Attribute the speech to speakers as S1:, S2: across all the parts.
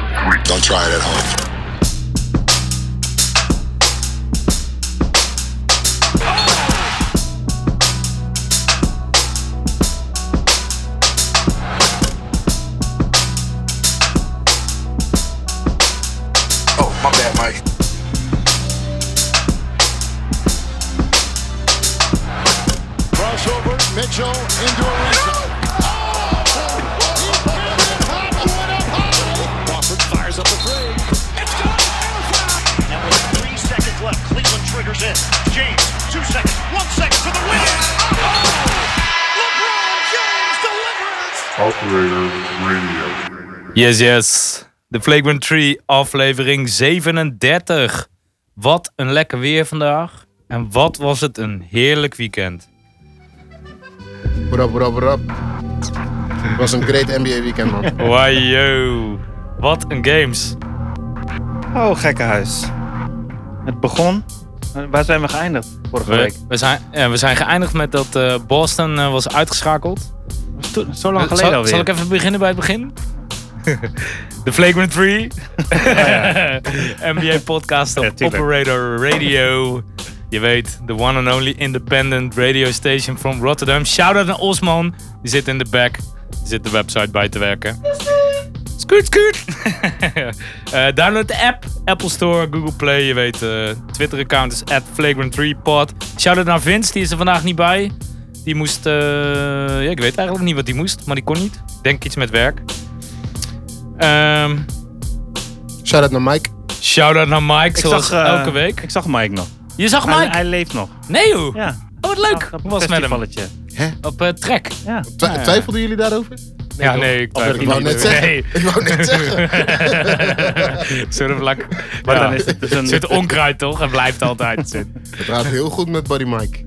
S1: and try it at home. Oh, my bad, Mike.
S2: Crossover, Mitchell into a reset.
S3: Crawford fires up the three. It's good.
S4: And with three seconds left, Cleveland triggers in. James, two seconds, one second for the win. LeBron James delivers.
S5: Operator Radio.
S6: Yes, yes. De Flagrant Tree, aflevering 37. Wat een lekker weer vandaag. En wat was het een heerlijk weekend.
S2: What up, what up, what up? Het was een great NBA weekend, man.
S6: Wajo. Wat een games.
S7: Oh, gekkenhuis. Het begon. Eh, Waar zijn we geëindigd vorige week?
S6: We, we, zijn, ja, we zijn geëindigd met dat eh, Boston eh, was uitgeschakeld.
S7: Dat is to- Zo lang geleden
S6: Eh, zal,
S7: alweer.
S6: zal ik even beginnen bij het begin? De Flagrant Tree. NBA podcast op
S7: Ja, tuurlijk.
S6: Operator Radio. Je weet, the one and only independent radio station from Rotterdam. Shout out naar Osman. Die zit in de back. Die zit de website bij te werken. Scoot, scoot. Eh, download de app. Apple Store, Google Play. Je weet, eh Twitter-account is at flagrant3pod. Shout-out naar Vince, die is er vandaag niet bij. Die moest, eh, ja, ik weet eigenlijk niet wat die moest, maar die kon niet. Ik Denk iets met werk. Ehm
S2: Shout-out naar Mike.
S6: Shout-out naar Mike,
S7: Ik
S6: zoals
S7: eh,
S6: elke week.
S7: Ik zag Mike nog.
S6: Je zag
S7: Hij,
S6: Mike?
S7: hij leeft nog.
S6: Nee joh.
S7: Ja.
S6: Oh, wat leuk.
S7: Op
S6: Hoe
S7: een
S6: was het met hem?
S7: festivalletje.
S6: Op eh, Trek.
S7: Ja.
S2: Twi- twijfelden jullie daarover?
S6: Ja, nee, ik
S7: Of
S6: twijfel
S2: Ik wou net
S7: wou
S6: niet.
S2: zeggen.
S6: Nee.
S2: Ik wou net zeggen.
S6: Zullen we vlak.
S7: Maar
S6: Ja.
S7: dan is het dus
S6: Er
S7: een...
S6: zit onkruid toch? Het blijft altijd zitten.
S2: Het gaat heel goed met Buddy Mike.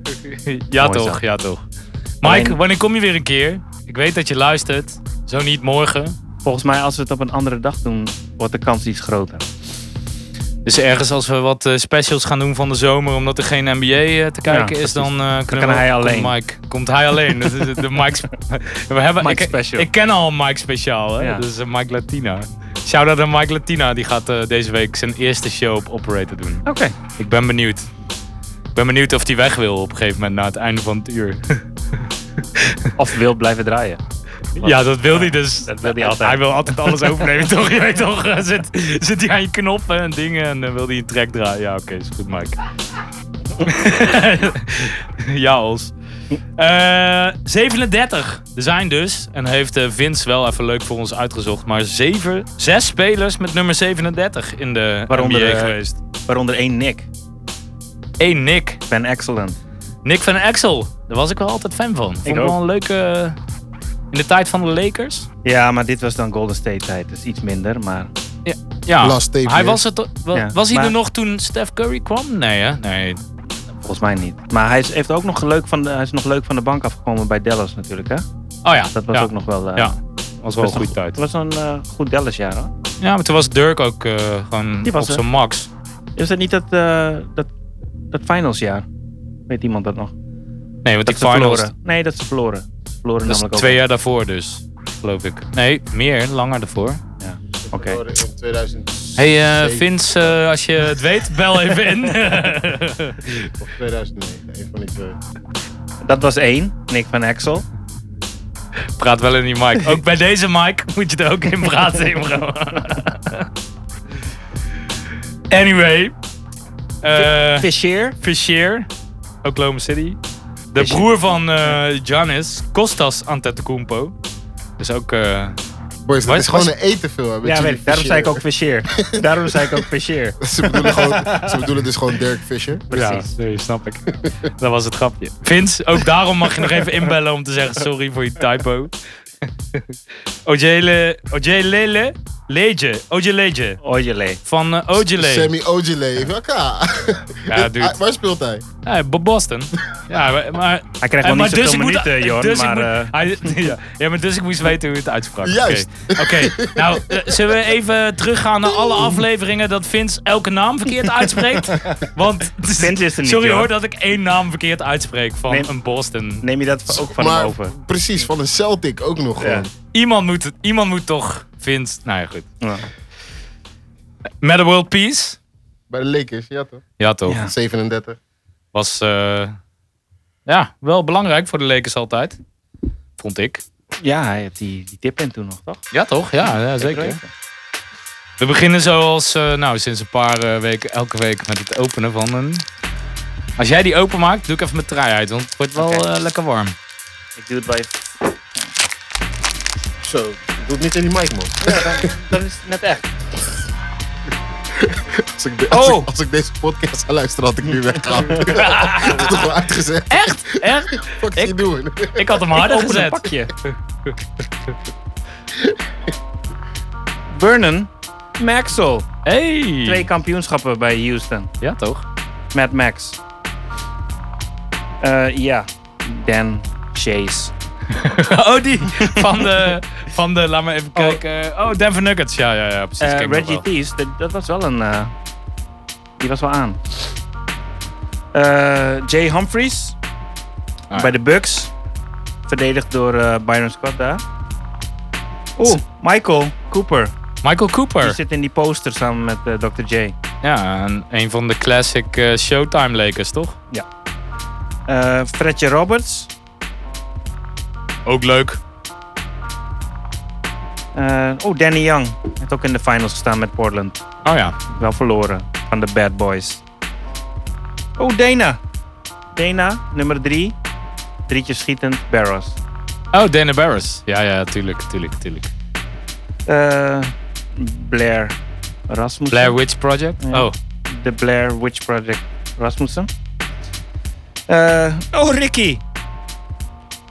S6: Ja
S7: Mooi zo.
S6: toch, ja toch. Mike,
S7: Alleen-
S6: wanneer kom je weer een keer? Ik weet dat je luistert. Zo niet morgen.
S7: Volgens mij als we het op een andere dag doen, wordt de kans iets groter.
S6: Dus ergens als we wat eh, specials gaan doen van de zomer, omdat er geen NBA eh, te kijken is,
S7: precies.
S6: dan, eh, kunnen
S7: kan
S6: we-
S7: hij
S6: komt
S7: alleen.
S6: Mike, komt hij alleen. Dat is de Mike's, we hebben,
S7: Mike
S6: ik,
S7: special.
S6: Ik ken al een Mike speciaal, hè?
S7: Ja.
S6: dat is eh, Mike Latina. Shout-out aan Mike Latina, die gaat eh, deze week zijn eerste show op Operator doen.
S7: Oké.
S6: Ik ben benieuwd. Ik ben benieuwd of hij weg wil op een gegeven moment na het einde van het uur.
S7: Of wil blijven draaien.
S6: ja, dat wil hij dus.
S7: Dat wil hij altijd.
S6: Hij wil altijd alles overnemen, toch? Je weet toch, eh, zit, zit hij aan je knoppen en dingen en dan wil hij een track draaien. Ja, oké, is goed, Mike. ja, Os. Eh, 37. Er zijn dus, en heeft eh, Vince wel even leuk voor ons uitgezocht, maar zeven, zes spelers met nummer 37 in de
S7: Waaronder,
S6: NBA
S7: eh,
S6: geweest.
S7: Waaronder één Nick.
S6: Eén Nick.
S7: Ben Excellent.
S6: Nick van Axel, daar was ik wel altijd fan van. Vond ik
S7: ook.
S6: wel een leuke. eh, In de tijd van de Lakers.
S7: Ja, maar dit was dan Golden State tijd. Dus iets minder, maar...
S6: Ja. ja.
S2: Last tape
S6: hij
S2: weer.
S6: was, het, wa-
S7: Ja,
S6: was hij
S7: maar-
S6: er nog toen Steph Curry kwam? Nee, hè? Nee.
S7: Volgens mij niet. Maar hij is, heeft ook nog leuk van de, hij is nog leuk van de bank afgekomen bij Dallas natuurlijk, hè?
S6: Oh ja.
S7: Dat was
S6: ja.
S7: ook nog wel... eh,
S6: Ja. Was wel een
S7: best
S6: goede tijd.
S7: Het was een eh, goed Dallas-jaar, hoor.
S6: Ja, maar toen was Dirk ook eh, gewoon
S7: Die was
S6: op
S7: er.
S6: zijn max.
S7: Is dat niet dat, eh dat, dat finalsjaar? Weet iemand dat nog?
S6: Nee, want
S7: Dat
S6: die finals.
S7: verloren. Nee, dat ze verloren. Ze verloren
S6: Dat
S7: namelijk
S6: is twee
S7: ook.
S6: jaar daarvoor dus, geloof ik. Nee, meer, langer daarvoor.
S7: Oké.
S2: In 2000
S6: Hé hey, eh, Vince, eh, als je het weet, bel even in.
S2: of 2009. Een van die twee.
S7: Dat was één, Nick van Axel.
S6: Praat wel in die mic. Ook bij deze mic moet je er ook in Eh, praten, Imro. anyway. eh
S7: Fischer.
S6: Fischer, Oklahoma City. De
S7: Fisher.
S6: broer van eh Giannis, Kostas Antetokounmpo. Dus ook... eh,
S2: Boys, dat
S6: Was-
S2: is gewoon
S6: was-
S2: een eten veel. hè, met
S7: Ja,
S2: jullie
S7: weet ik. Daarom
S2: Fisher.
S7: zei ik ook Fischer. Daarom zei ik ook Fischer.
S2: ze, bedoelen gewoon, ze bedoelen dus gewoon Dirk Fisher.
S6: ja, nee, snap ik. Dat was het grapje. Vince, ook daarom mag je nog even inbellen om te zeggen sorry voor je typo. Ojele... Ojelele? Leje. Ojelele.
S7: Ojele.
S6: Van eh, Ojele.
S2: Sammy Ojale. Even elkaar.
S6: Ja, dude.
S2: Waar speelt hij?
S6: Ja, Ah, Bob Boston. Ja, maar... maar
S7: Hij krijgt wel
S6: maar
S7: niet zoveel
S6: ik moet-
S7: minuten, Jorn,
S6: dus ik
S7: maar...
S6: moet-
S7: eh,
S6: hij- ja, ja, maar dus ik moest weten hoe je het uitsprak. Oké.
S2: Juist.
S6: Oké, nou, eh, zullen we even teruggaan naar alle afleveringen dat Vince elke naam verkeerd uitspreekt? Want,
S7: Vince is er niet,
S6: sorry hoor,
S7: Jorn.
S6: dat ik één naam verkeerd uitspreek van
S7: Nee.
S6: een Boston.
S7: neem je dat ook van
S2: maar,
S7: hem over?
S2: Precies, van een Celtic ook nog
S7: Ja.
S2: gewoon.
S6: Iemand moet, het, iemand moet toch Vince... Nou ja, goed.
S7: Ja.
S6: Met a World Peace.
S2: Bij de Lakers, ja toch?
S6: Ja, toch.
S7: Ja.
S2: 37.
S6: Was eh, ja, wel belangrijk voor de Lakers altijd. Vond ik.
S7: Ja, hij heeft die, die tip in toen nog, toch?
S6: Ja, toch? Ja, ja zeker. We beginnen zoals eh, nou, sinds een paar eh, weken elke week met het openen van een... Als jij die openmaakt, doe ik even mijn trui uit, want het wordt wel
S7: Oké.
S6: eh, lekker warm.
S7: Ik doe het wel even.
S2: Zo, doe het niet in die mic man.
S7: Dat is net echt.
S2: Als ik, de- als,
S6: Oh!
S2: ik, als ik deze podcast zou luisteren, had ik nu weggehaald. Dat is toch wel uitgezet?
S6: Echt? Echt?
S2: Wat is je doen?
S6: Ik had hem harder
S7: Open een
S6: gezet.
S7: pakje. Vernon Maxwell. Twee
S6: Hey!
S7: kampioenschappen bij Houston.
S6: Ja, toch?
S7: Met Max. Eh, ja. Dan Chase.
S6: Oh, die van de, van de, laat maar even kijken. Oh, Denver Nuggets. Ja, ja, ja, precies.
S7: Eh,
S6: Ken ik nog
S7: Reggie
S6: wel.
S7: Tees, dat, dat was wel een. eh, die was wel aan. Eh, Jay Humphries
S6: ja.
S7: bij de Bucks. Verdedigd door eh, Byron Scott daar. Oeh, Michael Cooper.
S6: Michael
S7: Die
S6: Cooper.
S7: zit in die poster samen met eh, Dr. J.
S6: Ja, een, een van de classic eh, Showtime Lakers, toch?
S7: Eh Fredje Roberts.
S6: Ook leuk.
S7: Eh, Oeh, Danny Young. Heeft ook in de finals gestaan met Portland.
S6: Oh ja.
S7: Wel verloren van de Bad Boys. Oeh, Oh, Dana. Dana, nummer drie. Drietje schietend, Barros.
S6: Oh, Dana Barris. Ja, ja, tuurlijk, tuurlijk, tuurlijk.
S7: Eh, Blair Rasmussen.
S6: Blair Witch Project?
S7: Ja.
S6: Oh,
S7: The Blair Witch Project Rasmussen. Eh, oh, Ricky.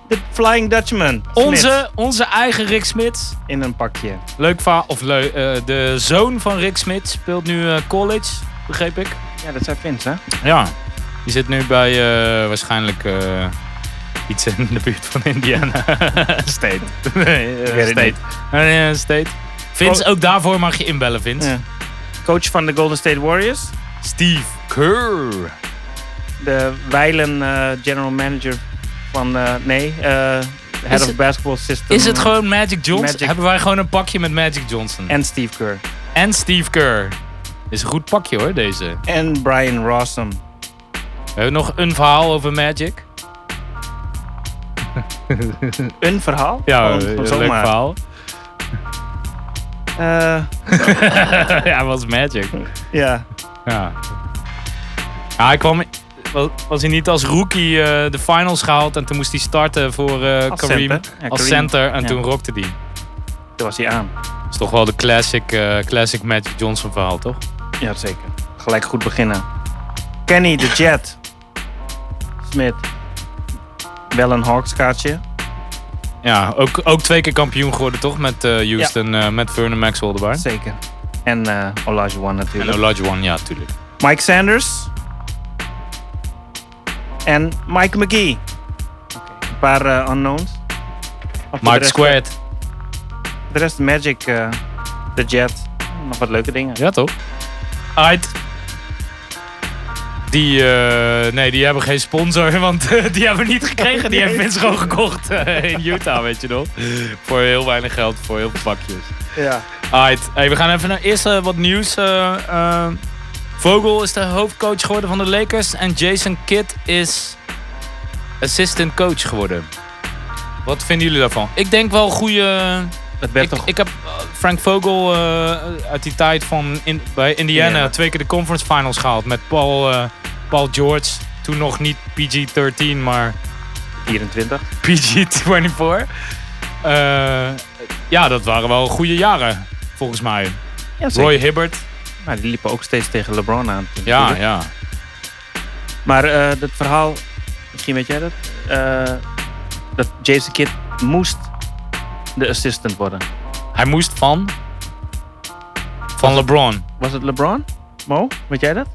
S7: The Flying Dutchman. Smith.
S6: onze, onze eigen Rick Smits.
S7: In een pakje.
S6: Leuk va of leu- eh, de zoon van Rick Smits speelt nu eh, college, begreep ik.
S7: Ja, dat zijn Vince, hè?
S6: Ja. Die zit nu bij eh, waarschijnlijk eh, iets in de buurt van Indiana State. Nee, eh,
S7: Ik weet het
S6: State. Eh,
S7: niet.
S6: State. Vince, ook daarvoor mag je inbellen, Vince.
S7: Ja. Coach van de Golden State Warriors.
S6: Steve Kerr.
S7: De wijlen eh, general manager van... eh, nee, eh, head
S6: Is
S7: of
S6: het-
S7: basketball system.
S6: Is het gewoon Magic Johnson?
S7: Magic.
S6: Hebben wij gewoon een pakje met Magic Johnson?
S7: En Steve Kerr.
S6: En Steve Kerr. Is een goed pakje hoor, deze.
S7: En Brian Rossum.
S6: We hebben nog een verhaal over Magic.
S7: Een eh, verhaal?
S6: Ja,
S7: Gewoon-
S6: een
S7: gewoon
S6: leuk
S7: zomaar.
S6: verhaal.
S7: Eh,
S6: ja, was Magic.
S7: ja.
S6: Ja. ja hij kwam, was, was hij niet als rookie eh, de finals gehaald en toen moest hij starten voor eh,
S7: Als
S6: Kareem
S7: center. Ja,
S6: als
S7: Kareem.
S6: center en
S7: Ja.
S6: toen rockte hij.
S7: Toen was hij aan.
S6: Dat is toch wel de classic, eh, classic Magic Johnson verhaal, toch?
S7: Ja, zeker. Gelijk goed beginnen. Kenny de Jet. Smit. Wel een Hawks kaartje.
S6: Ja, ook, ook twee keer kampioen geworden, toch? Met eh, Houston, eh, met Vernon Maxwell erbij.
S7: Zeker. En eh Olajuwon
S6: En
S7: natuurlijk.
S6: Olajuwon, ja, tuurlijk.
S7: Mike Sanders. En Mike McGee. Een paar eh, unknowns. Maar voor de
S6: Mike
S7: rest- eh,
S6: Squared.
S7: De rest Magic, eh, de Jet. Nog wat leuke dingen.
S6: Ja, toch? Uit. Die, eh, nee, die hebben geen sponsor, want eh, die hebben we niet gekregen. Die hebben Vince gewoon gekocht eh, in Utah, weet je nog. Voor heel weinig geld, voor heel veel pakjes.
S7: Ja.
S6: Alright, hey, we gaan even naar eerst eh, wat nieuws. eh, eh, Vogel is de hoofdcoach geworden van de Lakers en Jason Kidd is assistant coach geworden. Wat vinden jullie daarvan? Ik denk wel goede.
S7: Het werd
S6: Ik,
S7: toch...
S6: ik heb eh, Frank Vogel eh, uit die tijd van in, bij Indiana
S7: Indiana.
S6: twee keer de conference finals gehaald met Paul, eh, Paul George. Toen nog niet PG-13, maar
S7: 24.
S6: PG-24. Eh, ja, dat waren wel goede jaren, volgens mij.
S7: Ja, zeker.
S6: Roy Hibbert.
S7: Maar die liepen ook steeds tegen LeBron aan.
S6: Ja, ja.
S7: Maar eh dat verhaal, misschien weet jij dat, eh, dat Jason Kidd moest de assistant worden.
S6: Hij moest van... Van LeBron.
S7: Was het LeBron? Mo, weet jij dat?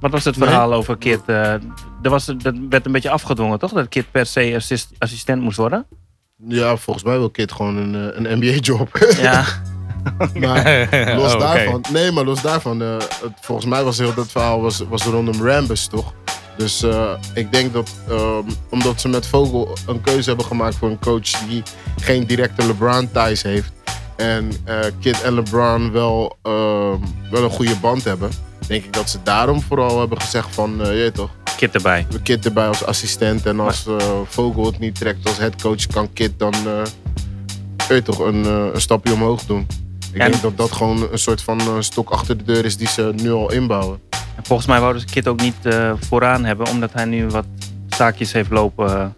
S7: Wat was het verhaal over Kidd? eh er was, dat werd een beetje afgedwongen, toch? Dat Kidd per se assist, assistent moest worden?
S2: Ja, volgens mij wil Kid gewoon een, eh, een NBA-job.
S7: Ja.
S2: maar los
S6: Oh, oké.
S2: daarvan, nee, maar los daarvan, eh, het- volgens mij was heel dat verhaal was, was rondom Rambus, toch? Dus eh, ik denk dat ehm, omdat ze met Vogel een keuze hebben gemaakt voor een coach die geen directe LeBron thuis heeft, en eh, Kid en LeBron wel, ehm, wel een goede band hebben, denk ik dat ze daarom vooral hebben gezegd van, eh, je weet toch,
S7: Kid erbij.
S2: Kid erbij als assistent. En als eh, Vogel het niet trekt als headcoach, kan Kid dan eh, weet toch, een, eh, een stapje omhoog doen. Ik
S7: En-
S2: denk dat dat gewoon een soort van eh, stok achter de deur is die ze nu al inbouwen.
S7: En volgens mij wouden ze Kid ook niet eh, vooraan hebben, omdat hij nu wat zaakjes heeft lopen. eh,
S2: En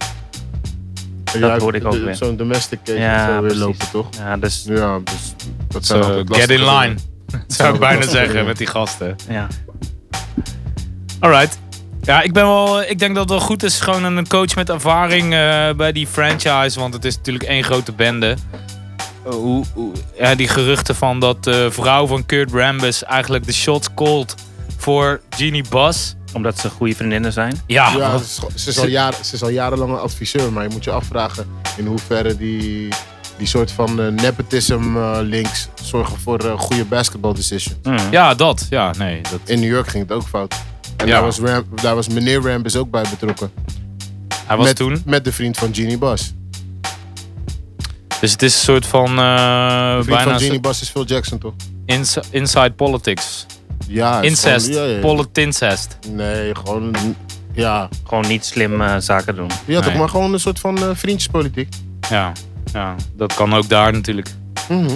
S7: Dat
S2: ja,
S7: hoorde ik ook
S2: de-
S7: weer.
S2: Zo'n domestic case
S7: Ja,
S2: of zo weer
S7: precies.
S2: lopen, toch?
S7: Ja, dus
S2: Ja, dus dat zijn
S6: So,
S2: altijd
S6: get in
S2: lastige
S6: line.
S2: dingen.
S6: Zou ik bijna
S2: lastige
S6: zeggen
S2: dingen.
S6: met die gasten.
S7: ja.
S6: Alright. Ja, ik, ben wel, ik denk dat het wel goed is. Gewoon een coach met ervaring eh, bij die franchise. Want het is natuurlijk één grote bende. Eh, hoe, hoe- ja, die geruchten van dat de vrouw van Kurt Rambis eigenlijk de shots called voor Genie Bas.
S7: omdat ze goede vriendinnen zijn.
S6: Ja,
S2: Ja,
S6: wat-
S2: ze is, ze, is al jaren, ze is al jarenlang een adviseur, maar je moet je afvragen in hoeverre die, die soort van eh, nepotism eh, links zorgen voor eh, goede basketball decisions.
S7: Mm.
S6: ja dat. Ja, nee. Dat,
S2: In New York ging het ook fout. En
S6: Ja.
S2: daar, was Ram, daar was meneer Rambis ook bij betrokken.
S6: hij was
S2: met,
S6: toen.
S2: Met de vriend van Genie Bas.
S6: Dus het is een soort van. eh
S2: De vriend
S6: bijna
S2: van
S6: een
S2: Genie
S6: soort
S2: Bas is Phil Jackson, toch?
S6: ins- inside politics.
S2: Ja. is
S6: Incest.
S2: gewoon- ja, ja, ja.
S6: Politincest.
S2: Nee, gewoon... Ja,
S7: Gewoon niet slim eh, zaken doen.
S2: ja toch
S6: Nee.
S2: maar gewoon een soort van eh, vriendjespolitiek.
S6: Ja. ja, dat kan ook daar natuurlijk.
S2: Mhm.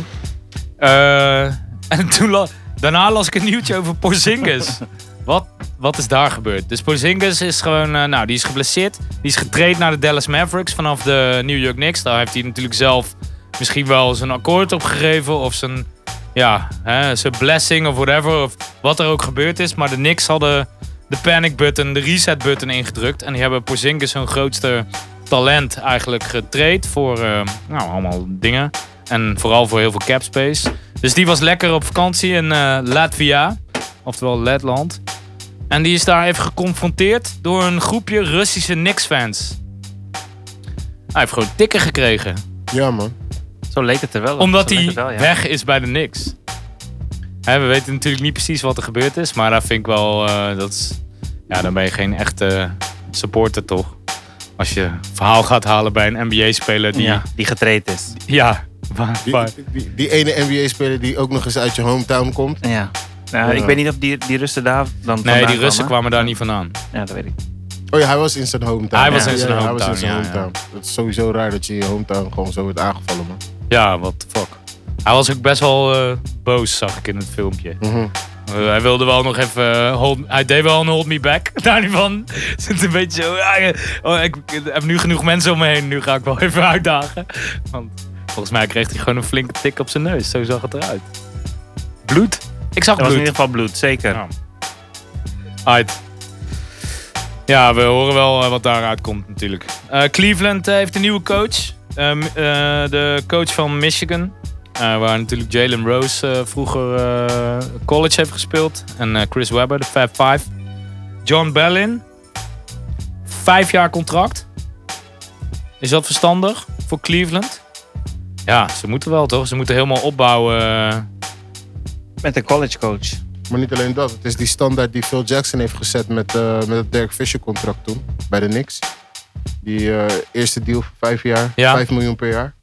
S6: Eh, en toen la- daarna las ik een nieuwtje over Porzingis. wat, wat is daar gebeurd? Dus Porzingis is gewoon, eh, nou, die is geblesseerd. Die is getraind naar de Dallas Mavericks vanaf de New York Knicks. Daar heeft hij natuurlijk zelf misschien wel zijn akkoord op gegeven of zijn, ja, hè, zijn blessing of whatever. Of wat er ook gebeurd is. Maar de Knicks hadden de panic button, de reset button ingedrukt. En die hebben Porzingis hun grootste talent eigenlijk getraind voor, eh, nou, allemaal dingen. En vooral voor heel veel cap space. Dus die was lekker op vakantie in eh, Latvia, oftewel Letland. En die is daar even geconfronteerd door een groepje Russische Knicks-fans. Hij heeft gewoon tikken gekregen.
S2: Ja, man.
S7: Zo leek het er wel. op.
S6: Omdat
S7: Zo leek
S6: hij
S7: het wel, ja.
S6: weg is bij de Knicks. Hè, we weten natuurlijk niet precies wat er gebeurd is, maar daar vind ik wel. eh, dat is, ja, dan ben je geen echte supporter toch? Als je verhaal gaat halen bij een NBA-speler die.
S7: ja,
S6: Ja,
S7: die getraind is.
S6: waar-
S2: Die,
S6: waar-
S2: die, die ene NBA-speler die ook nog eens uit je hometown komt.
S7: Ja. Nou,
S2: Ja.
S7: Ik weet niet of die, die Russen daar dan
S6: Nee, die
S7: vandaan
S6: Russen
S7: kwamen.
S6: kwamen daar niet vandaan.
S7: Ja, dat weet ik.
S2: Oh ja, hij was in zijn hometown.
S6: Hij was
S2: Ja,
S6: in zijn
S2: ja, hij was in
S6: hometown,
S2: zijn
S6: ja, ja.
S2: hometown. Dat is sowieso raar dat je in je hometown gewoon zo wordt aangevallen, man.
S6: Ja, what the fuck. Hij was ook best wel eh, boos, zag ik in het filmpje.
S2: Mhm.
S6: Eh, hij wilde wel nog even... eh, hold, hij deed wel een hold me back. Daar niet van. Zit een beetje zo... "Ah, eh, oh, ik, ik heb nu genoeg mensen om me heen. Nu ga ik wel even uitdagen. Want volgens mij kreeg hij gewoon een flinke tik op zijn neus. Zo zag het eruit. Bloed? Ik zag
S7: Dat was in
S6: bloed.
S7: ieder geval bloed, zeker.
S6: Ja. Uit. Ja, we horen wel eh, wat daaruit komt natuurlijk. Eh, Cleveland eh, heeft een nieuwe coach. Eh, m- eh, de coach van Michigan. eh, waar natuurlijk Jalen Rose eh, vroeger eh, college heeft gespeeld. En eh, Chris Webber, de Fab Five. John Bellin. Vijf jaar contract. Is dat verstandig voor Cleveland? Ja, ze moeten wel toch? Ze moeten helemaal opbouwen. eh.
S7: Met een college coach.
S2: Maar niet alleen dat. Het is die standaard die Phil Jackson heeft gezet met, eh, met het Dirk Fisher contract toen. Bij de Knicks. Die eh, eerste deal voor vijf jaar.
S6: Ja.
S2: Vijf miljoen per jaar.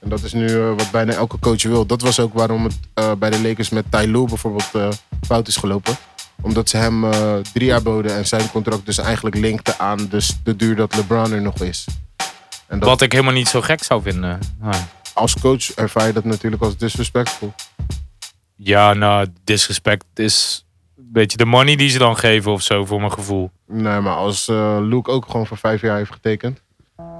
S2: En dat is nu eh, wat bijna elke coach wil. Dat was ook waarom het eh, bij de Lakers met Ty Lue bijvoorbeeld eh, fout is gelopen. Omdat ze hem eh, drie jaar boden en zijn contract dus eigenlijk linkte aan dus de duur dat LeBron er nog is. En dat,
S6: Wat ik helemaal niet zo gek zou vinden. Ah. Maar-
S2: als coach ervaar je dat natuurlijk als disrespectful.
S6: Ja, nou, disrespect is een beetje de money die ze dan geven of zo, voor mijn gevoel.
S2: Nee, maar als eh, Luke ook gewoon voor vijf jaar heeft getekend.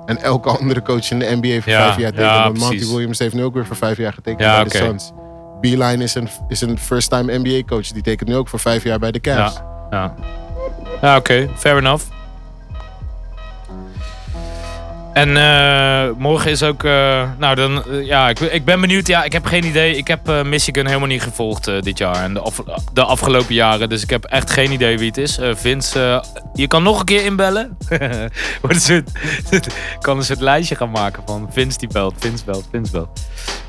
S2: En elke andere coach in de NBA voor
S6: Ja,
S2: vijf jaar tekent.
S6: ja,
S2: want Monty
S6: precies.
S2: Williams heeft nu ook weer voor vijf jaar getekend
S6: Ja,
S2: bij
S6: oké.
S2: de Suns. Beeline is een, is een first-time NBA coach. Die tekent nu ook voor vijf jaar bij de Cavs.
S6: Ja, ja. ja oké, fair enough. En eh, morgen is ook, eh, nou dan, eh, ja, ik, ik ben benieuwd. Ja, ik heb geen idee. Ik heb eh, Michigan helemaal niet gevolgd eh, dit jaar en de, af- de afgelopen jaren. Dus ik heb echt geen idee wie het is. Eh, Vince, eh, je kan nog een keer inbellen. Wordt een soort- ik kan een soort lijstje gaan maken van Vince die belt, Vince belt, Vince belt.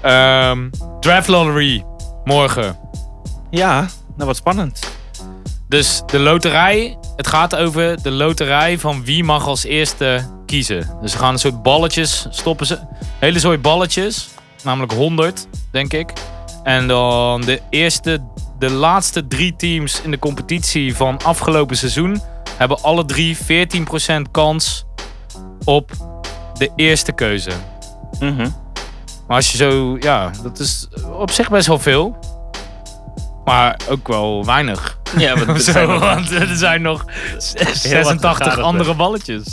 S6: Ehm, draft Lottery, morgen.
S7: Ja, nou wat spannend.
S6: Dus de loterij, het gaat over de loterij van wie mag als eerste kiezen. Dus ze gaan een soort balletjes stoppen ze, hele zooi balletjes. namelijk 100, denk ik. En dan de eerste, de laatste drie teams in de competitie van afgelopen seizoen hebben alle drie 14% kans op de eerste keuze.
S7: Mhm.
S6: Maar als je zo, ja, dat is op zich best wel veel. Maar ook wel weinig.
S7: Ja, want het zijn
S6: Zo,
S7: nog-
S6: want er zijn nog 86
S7: gegadigd,
S6: andere balletjes.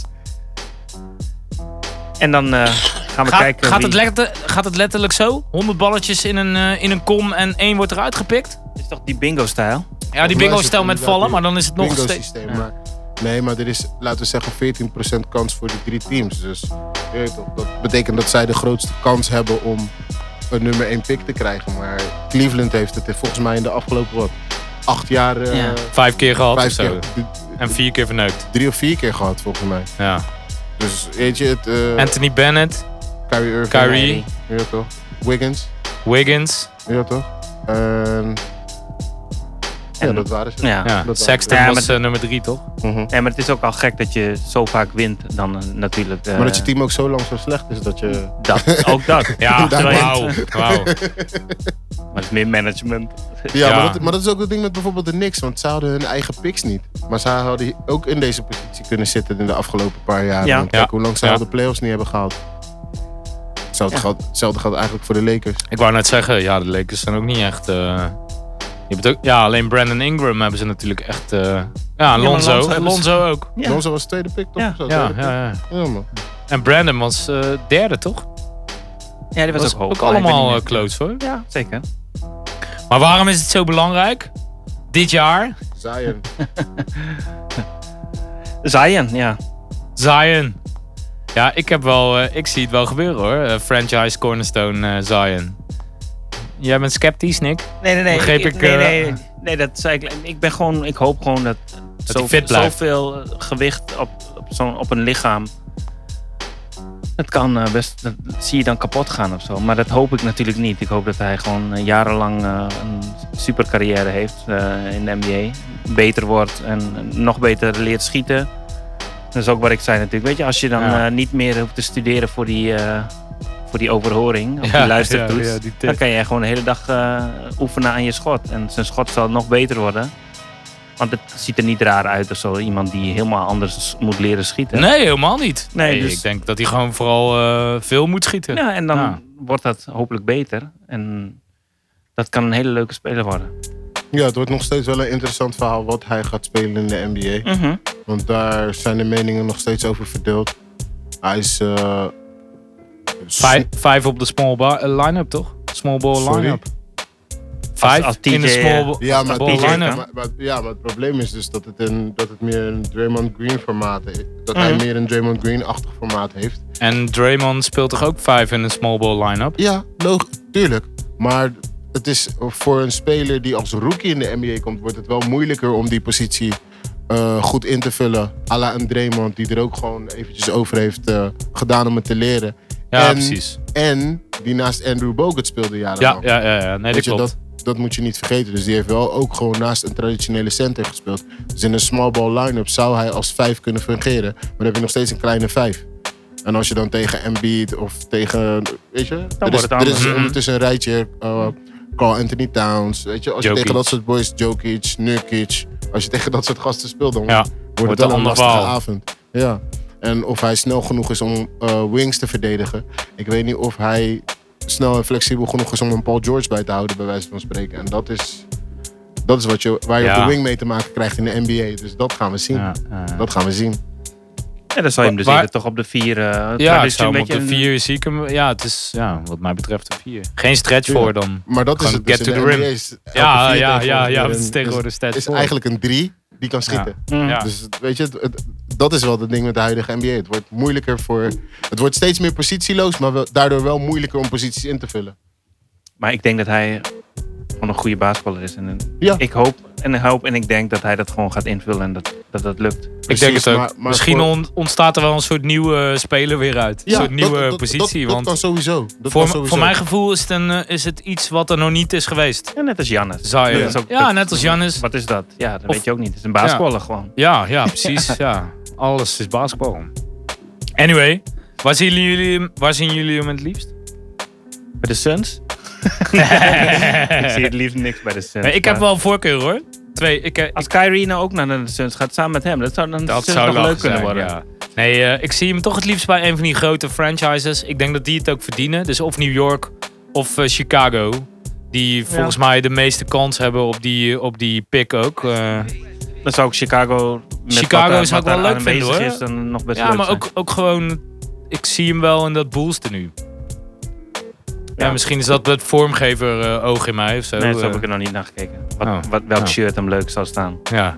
S7: En dan eh, gaan we
S6: Gaat,
S7: kijken.
S6: gaat,
S7: wie-
S6: het letter- gaat het letterlijk zo? 100 balletjes in een, eh, in een kom en één wordt eruit gepikt?
S7: is toch die bingo-stijl?
S6: Ja,
S2: mij
S6: die bingo
S2: is het
S6: stel met
S2: inderdaad
S6: vallen,
S2: nu
S6: maar dan is het nog
S2: bingo
S6: steeds...
S2: systeem. Maar, nee, maar er is, laten we zeggen, 14% kans voor die drie teams. Dus je weet toch, dat betekent dat zij de grootste kans hebben om een nummer 1 pick te krijgen. Maar Cleveland heeft het volgens mij in de afgelopen wat, acht jaar eh,
S7: Ja.
S6: Vijf keer gehad
S2: vijf
S6: of zo.
S2: keer, d-
S6: En vier keer verneukt.
S2: drie of vier keer gehad, volgens mij.
S6: Ja.
S2: Dus weet je, het, eh,
S6: Anthony Bennett,
S2: Kyrie Irving.
S6: Kyrie,
S2: Ja, toch? Wiggins.
S6: Wiggins,
S2: Ja, toch? En, ja,
S7: En-
S2: dat waren ze.
S7: Ja.
S6: ja.
S2: dat-
S6: Sexton
S7: Ja, maar
S6: was
S7: dat-
S6: eh, nummer drie, toch?
S2: Mhm.
S7: Nee, maar het is ook al gek dat je zo vaak wint dan eh, natuurlijk. eh,
S2: Maar dat je team ook zo lang zo slecht is dat je...
S7: dat, ook dat.
S6: Ja,
S7: Terwijl je-
S6: wauw. wauw.
S7: Maar het is meer management.
S2: Ja,
S6: Ja.
S2: Maar, dat, maar dat is ook het ding met bijvoorbeeld de Knicks. Want ze hadden hun eigen picks niet. Maar ze hadden ook in deze positie kunnen zitten in de afgelopen paar jaar.
S7: Ja.
S2: Want kijk
S6: Ja.
S2: hoe lang ze
S6: Ja.
S2: al de playoffs niet hebben gehaald. Hetzelfde, geldt, hetzelfde geldt eigenlijk voor de Lakers.
S6: Ik wou net zeggen, ja, de Lakers zijn ook niet echt... eh, je hebt ook, ja, alleen Brandon Ingram hebben ze natuurlijk echt... eh, ja, Lonzo.
S7: Lonzo
S6: Lonzo,
S7: hebben ze-
S6: ook.
S7: Ja.
S2: Lonzo was tweede pick, toch?
S7: Ja.
S2: Of zo,
S6: Ja,
S2: tweede
S6: ja, ja.
S2: pick. ja man.
S6: En Brandon was eh, derde, toch?
S7: Ja, die was,
S6: Dat is
S7: ook hoog.
S6: ook
S7: maar ik weet
S6: allemaal
S7: niet
S6: eh,
S7: meer.
S6: close hoor.
S7: Ja, zeker.
S6: Maar waarom is het zo belangrijk? Dit jaar,
S2: Zion.
S7: Zion, ja.
S6: Zion. Ja, ik, heb wel, eh, ik zie het wel gebeuren hoor. Eh, franchise Cornerstone eh, Zion. Jij bent sceptisch, Nick?
S7: Nee, nee, nee.
S6: Begreep ik,
S7: nee,
S6: eh,
S7: nee, nee, nee, dat zei ik. Ik, ben gewoon, ik hoop gewoon dat,
S6: hij fit blijft.
S7: zoveel eh, gewicht op, op, zo'n op een lichaam. Dat kan eh, best, dat zie je dan kapot gaan of zo. Maar dat hoop ik natuurlijk niet. Ik hoop dat hij gewoon eh, jarenlang eh, een super carrière heeft eh, in de NBA. Beter wordt en nog beter leert schieten. Dat is ook wat ik zei natuurlijk. Weet je, als je dan
S6: Ja.
S7: eh, niet meer hoeft te studeren voor die, eh, voor die overhoring, of
S6: Ja,
S7: die luistertoets,
S6: ja, ja, die tip.
S7: dan kan je gewoon de hele dag eh, oefenen aan je schot. En zijn schot zal nog beter worden. Want het ziet er niet raar uit of zo. Iemand die helemaal anders moet leren schieten.
S6: Nee, helemaal niet.
S7: Nee, dus-
S6: Ik denk dat hij gewoon vooral eh, veel moet schieten.
S7: Ja, en dan
S6: Ja.
S7: wordt dat hopelijk beter. En dat kan een hele leuke speler worden.
S2: Ja, het wordt nog steeds wel een interessant verhaal wat hij gaat spelen in de NBA.
S6: Mhm.
S2: Want daar zijn de meningen nog steeds over verdeeld. Hij is. eh,
S6: Vijf, vijf op de small bar, eh, line-up toch? Small ball
S2: Sorry?
S6: line-up. Vijf
S7: als
S6: in de
S7: TJ,
S6: small
S7: eh,
S6: ball,
S2: Ja
S6: als de
S2: maar,
S6: ball
S7: TJ kan.
S6: line-up.
S2: maar, maar- ja, maar het probleem is dus dat het, een, dat het meer een Draymond Green formaat is. Dat hij
S7: Mhm.
S2: meer een Draymond Green-achtig formaat heeft.
S6: En Draymond speelt toch ook vijf in een small ball line-up?
S2: Ja, logisch, tuurlijk. Maar het is voor een speler die als rookie in de NBA komt, wordt het wel moeilijker om die positie eh, goed in te vullen. A la een Draymond, die er ook gewoon eventjes over heeft eh, gedaan om het te leren.
S6: Ja,
S2: En-
S6: precies.
S2: En die naast Andrew Bogut speelde
S6: Ja,
S2: jarenlang.
S6: ja, ja, ja. Nee, dat
S2: Weet je,
S6: klopt.
S2: dat, dat moet je niet vergeten. Dus die heeft wel ook gewoon naast een traditionele center gespeeld. Dus in een small ball line-up zou hij als vijf kunnen fungeren. Maar dan heb je nog steeds een kleine vijf. En als je dan tegen Embiid of tegen... Weet je? er
S7: wordt
S2: is,
S7: het
S2: er
S7: anders.
S2: is
S6: Mhm.
S2: ondertussen een rijtje. eh, Carl Anthony Towns. Weet je? Als je
S6: Jokic.
S2: tegen dat soort boys... Jokic, Nurkic. Als je tegen dat soort gasten speelt... dan
S6: Ja,
S2: wordt
S6: wordt
S2: het wel
S6: een
S2: een
S6: ander
S2: lastige
S6: verhaal.
S2: avond. Ja. En of hij snel genoeg is om eh, wings te verdedigen. Ik weet niet of hij snel en flexibel genoeg is om een Paul George bij te houden, bij wijze van spreken. En dat is, dat is wat je, waar je
S6: Ja.
S2: op de wing mee te maken krijgt in de NBA. Dus dat gaan we zien.
S6: Ja, eh.
S2: Dat gaan we zien.
S7: En dan zou je hem dus
S6: Waar-
S7: eerder toch op de vier... eh,
S6: Ja,
S7: traditie
S6: ik zou hem op
S7: beetje
S6: de
S7: een-
S6: 4 zie ik hem. Ja, het is ja, wat mij betreft een 4. Geen stretch voor dan.
S2: Maar dat is
S6: Gewoon
S2: het dus
S6: get
S2: in
S6: to
S2: de
S6: the rim.
S2: NBA is elke
S6: Ja,
S2: vier
S6: ja, ja,
S2: tegenwoordig
S6: ja.
S2: een-
S6: Het is tegenwoordig
S2: is,
S6: steeds
S2: is
S6: voor.
S2: eigenlijk een drie die kan schieten.
S6: Ja.
S2: Dus weet je, het- het- dat is wel het ding met de huidige NBA. Het wordt moeilijker voor... Het wordt steeds meer positieloos, maar wel- daardoor wel moeilijker om posities in te vullen.
S7: Maar ik denk dat hij gewoon een goede basketballer is. En een-
S2: Ja.
S7: ik hoop en ik hoop en ik denk dat hij dat gewoon gaat invullen en dat dat, dat lukt.
S6: Ik
S2: Precies,
S6: denk het ook.
S2: maar- maar
S6: Misschien
S2: voor-
S6: on- ontstaat er wel een soort nieuwe eh, speler weer uit. Een soort
S2: dat-
S6: nieuwe
S2: dat- dat-
S6: positie.
S2: Dat, dat
S6: want
S2: kan sowieso. Dat
S6: voor,
S2: kan
S6: m-
S2: sowieso.
S6: voor mijn gevoel is het, een, eh, is het iets wat er nog niet is geweest.
S7: En net als Jannes.
S6: Zion.
S2: Ja.
S6: Ja,
S2: Dat is
S7: ook-
S6: ja
S7: dat-
S6: net als Jannis.
S7: Wat is dat? Ja, dat
S6: Of-
S7: weet je ook niet. Het is een basketballer gewoon.
S6: Ja, ja, precies. ja. Alles is basketbal. Anyway, waar zien jullie, hem- waar zien jullie hem het liefst?
S7: Bij de Suns? Ik zie het liefst niks bij de Suns.
S6: Nee, ik heb
S7: maar-
S6: wel voorkeur hoor. Twee, ik, eh,
S7: Als Kyrie nou ook naar de Suns gaat samen met hem, dat zou dan
S6: Dat
S7: Suns
S6: zou
S7: nog
S6: lachen
S7: leuk kunnen
S6: zijn,
S7: worden.
S6: ja. Nee, eh, ik zie hem toch het liefst bij een van die grote franchises. Ik denk dat die het ook verdienen. Dus of New York of eh, Chicago. Die volgens mij de meeste kans hebben op die, op die pick ook. Eh,
S7: Dan zou ik Chicago. Met
S6: Chicago
S7: wat daar-
S6: zou ik
S7: wat
S6: wel
S7: daar
S6: leuk vinden,
S7: aanwezig
S6: hoor.
S7: Is, dan nog best
S6: ja,
S7: leuk
S6: maar
S7: zijn.
S6: ook, ook gewoon... Ik zie hem wel in dat boelste nu. Ja,
S7: Ja.
S6: misschien is dat het vormgever eh, oog in mij of zo.
S7: Nee, daar heb
S6: eh,
S7: ik er nog niet naar gekeken. Wat,
S6: Oh.
S7: wat, welk
S6: Oh.
S7: shirt hem leuk zou staan.
S6: ja,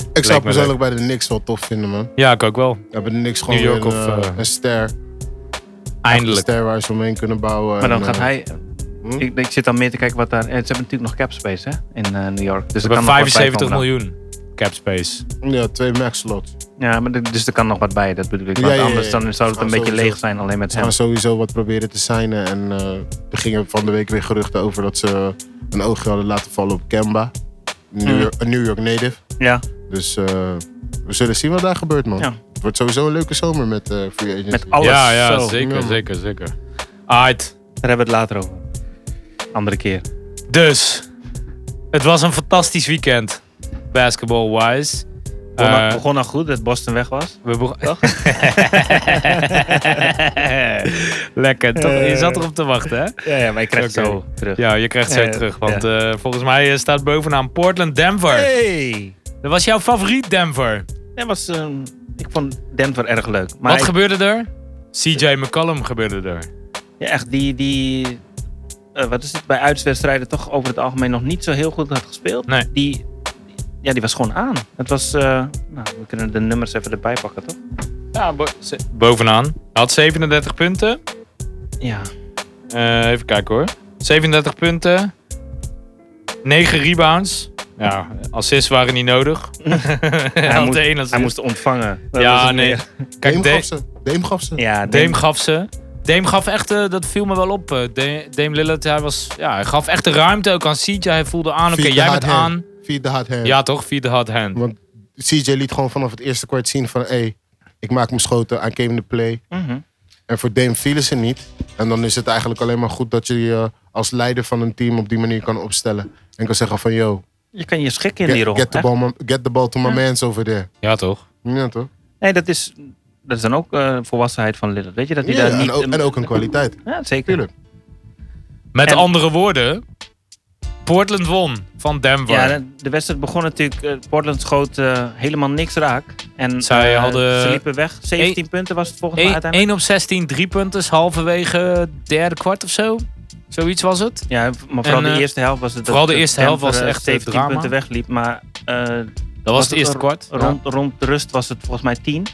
S2: Ik zou
S6: Leek
S2: het
S6: me
S2: persoonlijk
S6: leuk.
S2: bij de Knicks wel tof vinden, man.
S6: Ja, ik ook wel.
S2: Ja, bij de Knicks gewoon
S6: New York
S2: weer een,
S6: of,
S2: eh,
S6: eh,
S2: een ster. Een
S6: Eindelijk.
S2: ster waar ze omheen kunnen bouwen.
S7: Maar dan
S2: en,
S7: gaat
S2: eh,
S7: hij.
S2: hm?
S7: Ik, ik zit dan meer te kijken wat daar. eh, Ze hebben natuurlijk nog cap space hè, in eh, New York. Dus
S6: Ze
S7: er kan
S6: hebben
S7: nog wat bij
S6: 75
S7: komen dan.
S6: miljoen cap space.
S2: Ja, twee max slots.
S7: Ja, maar er- dus er kan nog wat bij, dat bedoel ik.
S2: Ja,
S7: Want
S2: ja, ja,
S7: anders
S2: ja.
S7: Dan zou het een
S2: Ah,
S7: beetje
S2: sowieso.
S7: leeg zijn alleen met
S2: Ze gaan
S7: hem.
S2: sowieso wat proberen te signen. En eh, er gingen van de week weer geruchten over dat ze een oogje hadden laten vallen op Kemba. New,
S6: Hmm.
S7: Mhm.
S2: York, een New York native.
S7: Ja,
S2: Dus eh, we zullen zien wat daar gebeurt, man.
S7: Ja.
S2: Het wordt sowieso een leuke zomer met eh, Free Agency.
S7: met alles.
S6: ja, ja,
S7: zo.
S6: zeker,
S2: Ja, man.
S6: zeker, zeker. Alright.
S7: Daar hebben we het later over. Andere keer.
S6: Dus, het was een fantastisch weekend, basketball-wise.
S7: Begon, al-
S6: Eh,
S7: begon al goed dat Boston weg was.
S6: we begon-
S7: Toch?
S6: Lekker, toch?
S2: Eh.
S6: je zat erop te wachten, hè?
S7: Ja, ja maar ik krijg
S6: Oké.
S7: het zo terug.
S6: Ja, je krijgt zo
S7: Eh,
S6: terug, want eh, volgens mij eh, staat bovenaan Portland-Denver.
S7: Hey!
S6: Dat was jouw favoriet, Denver.
S7: Dat was, ehm, ik vond Denver erg leuk. Maar
S6: Wat
S7: ik-
S6: gebeurde er? CJ McCollum gebeurde er.
S7: ja, echt die, die eh, wat is het, bij uitwedstrijden toch over het algemeen nog niet zo heel goed had gespeeld.
S6: Nee.
S7: Die, ja, die was gewoon aan. Het was, eh, nou, we kunnen de nummers even erbij pakken, toch?
S6: Ja, bovenaan. Hij had 37 punten.
S7: Ja.
S6: Eh, even kijken hoor. 37 punten. 9 rebounds. Ja, assists waren niet nodig. hij had
S7: moest-
S6: één assist.
S7: Hij moest ontvangen. Dat was
S6: ja,
S7: het
S6: nee.
S7: meer.
S6: Kijk,
S2: Dame
S6: Dame,
S2: gaf ze. Dame gaf ze.
S7: Ja,
S6: Dame gaf ze. Dame gaf echt, eh, dat viel me wel op. eh, Dame, Dame Lillard, hij, was, ja, hij gaf echt de ruimte ook aan CJ. Hij voelde aan, oké,
S2: Feed the
S6: jij
S2: hard
S6: bent
S2: hand.
S6: aan.
S2: Feed the hard hand.
S6: Ja toch, via de hard hand.
S2: Want CJ liet gewoon vanaf het eerste kwart zien van... Hey, ik maak mijn schoten, I came to play.
S7: Mhm.
S2: En voor Dame vielen ze niet. En dan is het eigenlijk alleen maar goed dat je je als leider van een team... op die manier kan opstellen. En kan zeggen van, yo,
S7: Je kan je schikken in die rol.
S2: get, get, the,
S7: hè?
S2: ball, ma- get the ball to my mans over there.
S6: Ja toch.
S2: Ja, toch?
S7: Nee, dat is, dat is dan ook eh, volwassenheid van Lillard. Weet je, dat hij
S2: Ja,
S7: daar
S2: en,
S7: niet...
S2: ook, en ook een kwaliteit.
S7: Ja, zeker.
S2: Tuurlijk.
S6: Met
S7: En-
S6: andere woorden, Portland won van Denver.
S7: Ja, de- de wedstrijd begon natuurlijk. eh, Portland schoot eh, helemaal niks raak. En
S6: Zij
S7: eh,
S6: hadden-
S7: ze liepen weg. 17 punten was het volgens mij uiteindelijk.
S6: 1 op 16 driepunters halverwege het derde kwart of zo. Zoiets was het.
S7: Ja, maar vooral
S6: En, eh,
S7: de eerste helft was het. dat
S6: vooral de eerste helft
S7: Denver,
S6: was
S7: eh,
S6: echt, eh,
S7: 17
S6: drama.
S7: punten wegliep. Maar eh,
S6: Dat was het eerste
S7: ro-
S6: kwart.
S7: rond, rond de rust was het volgens mij 10.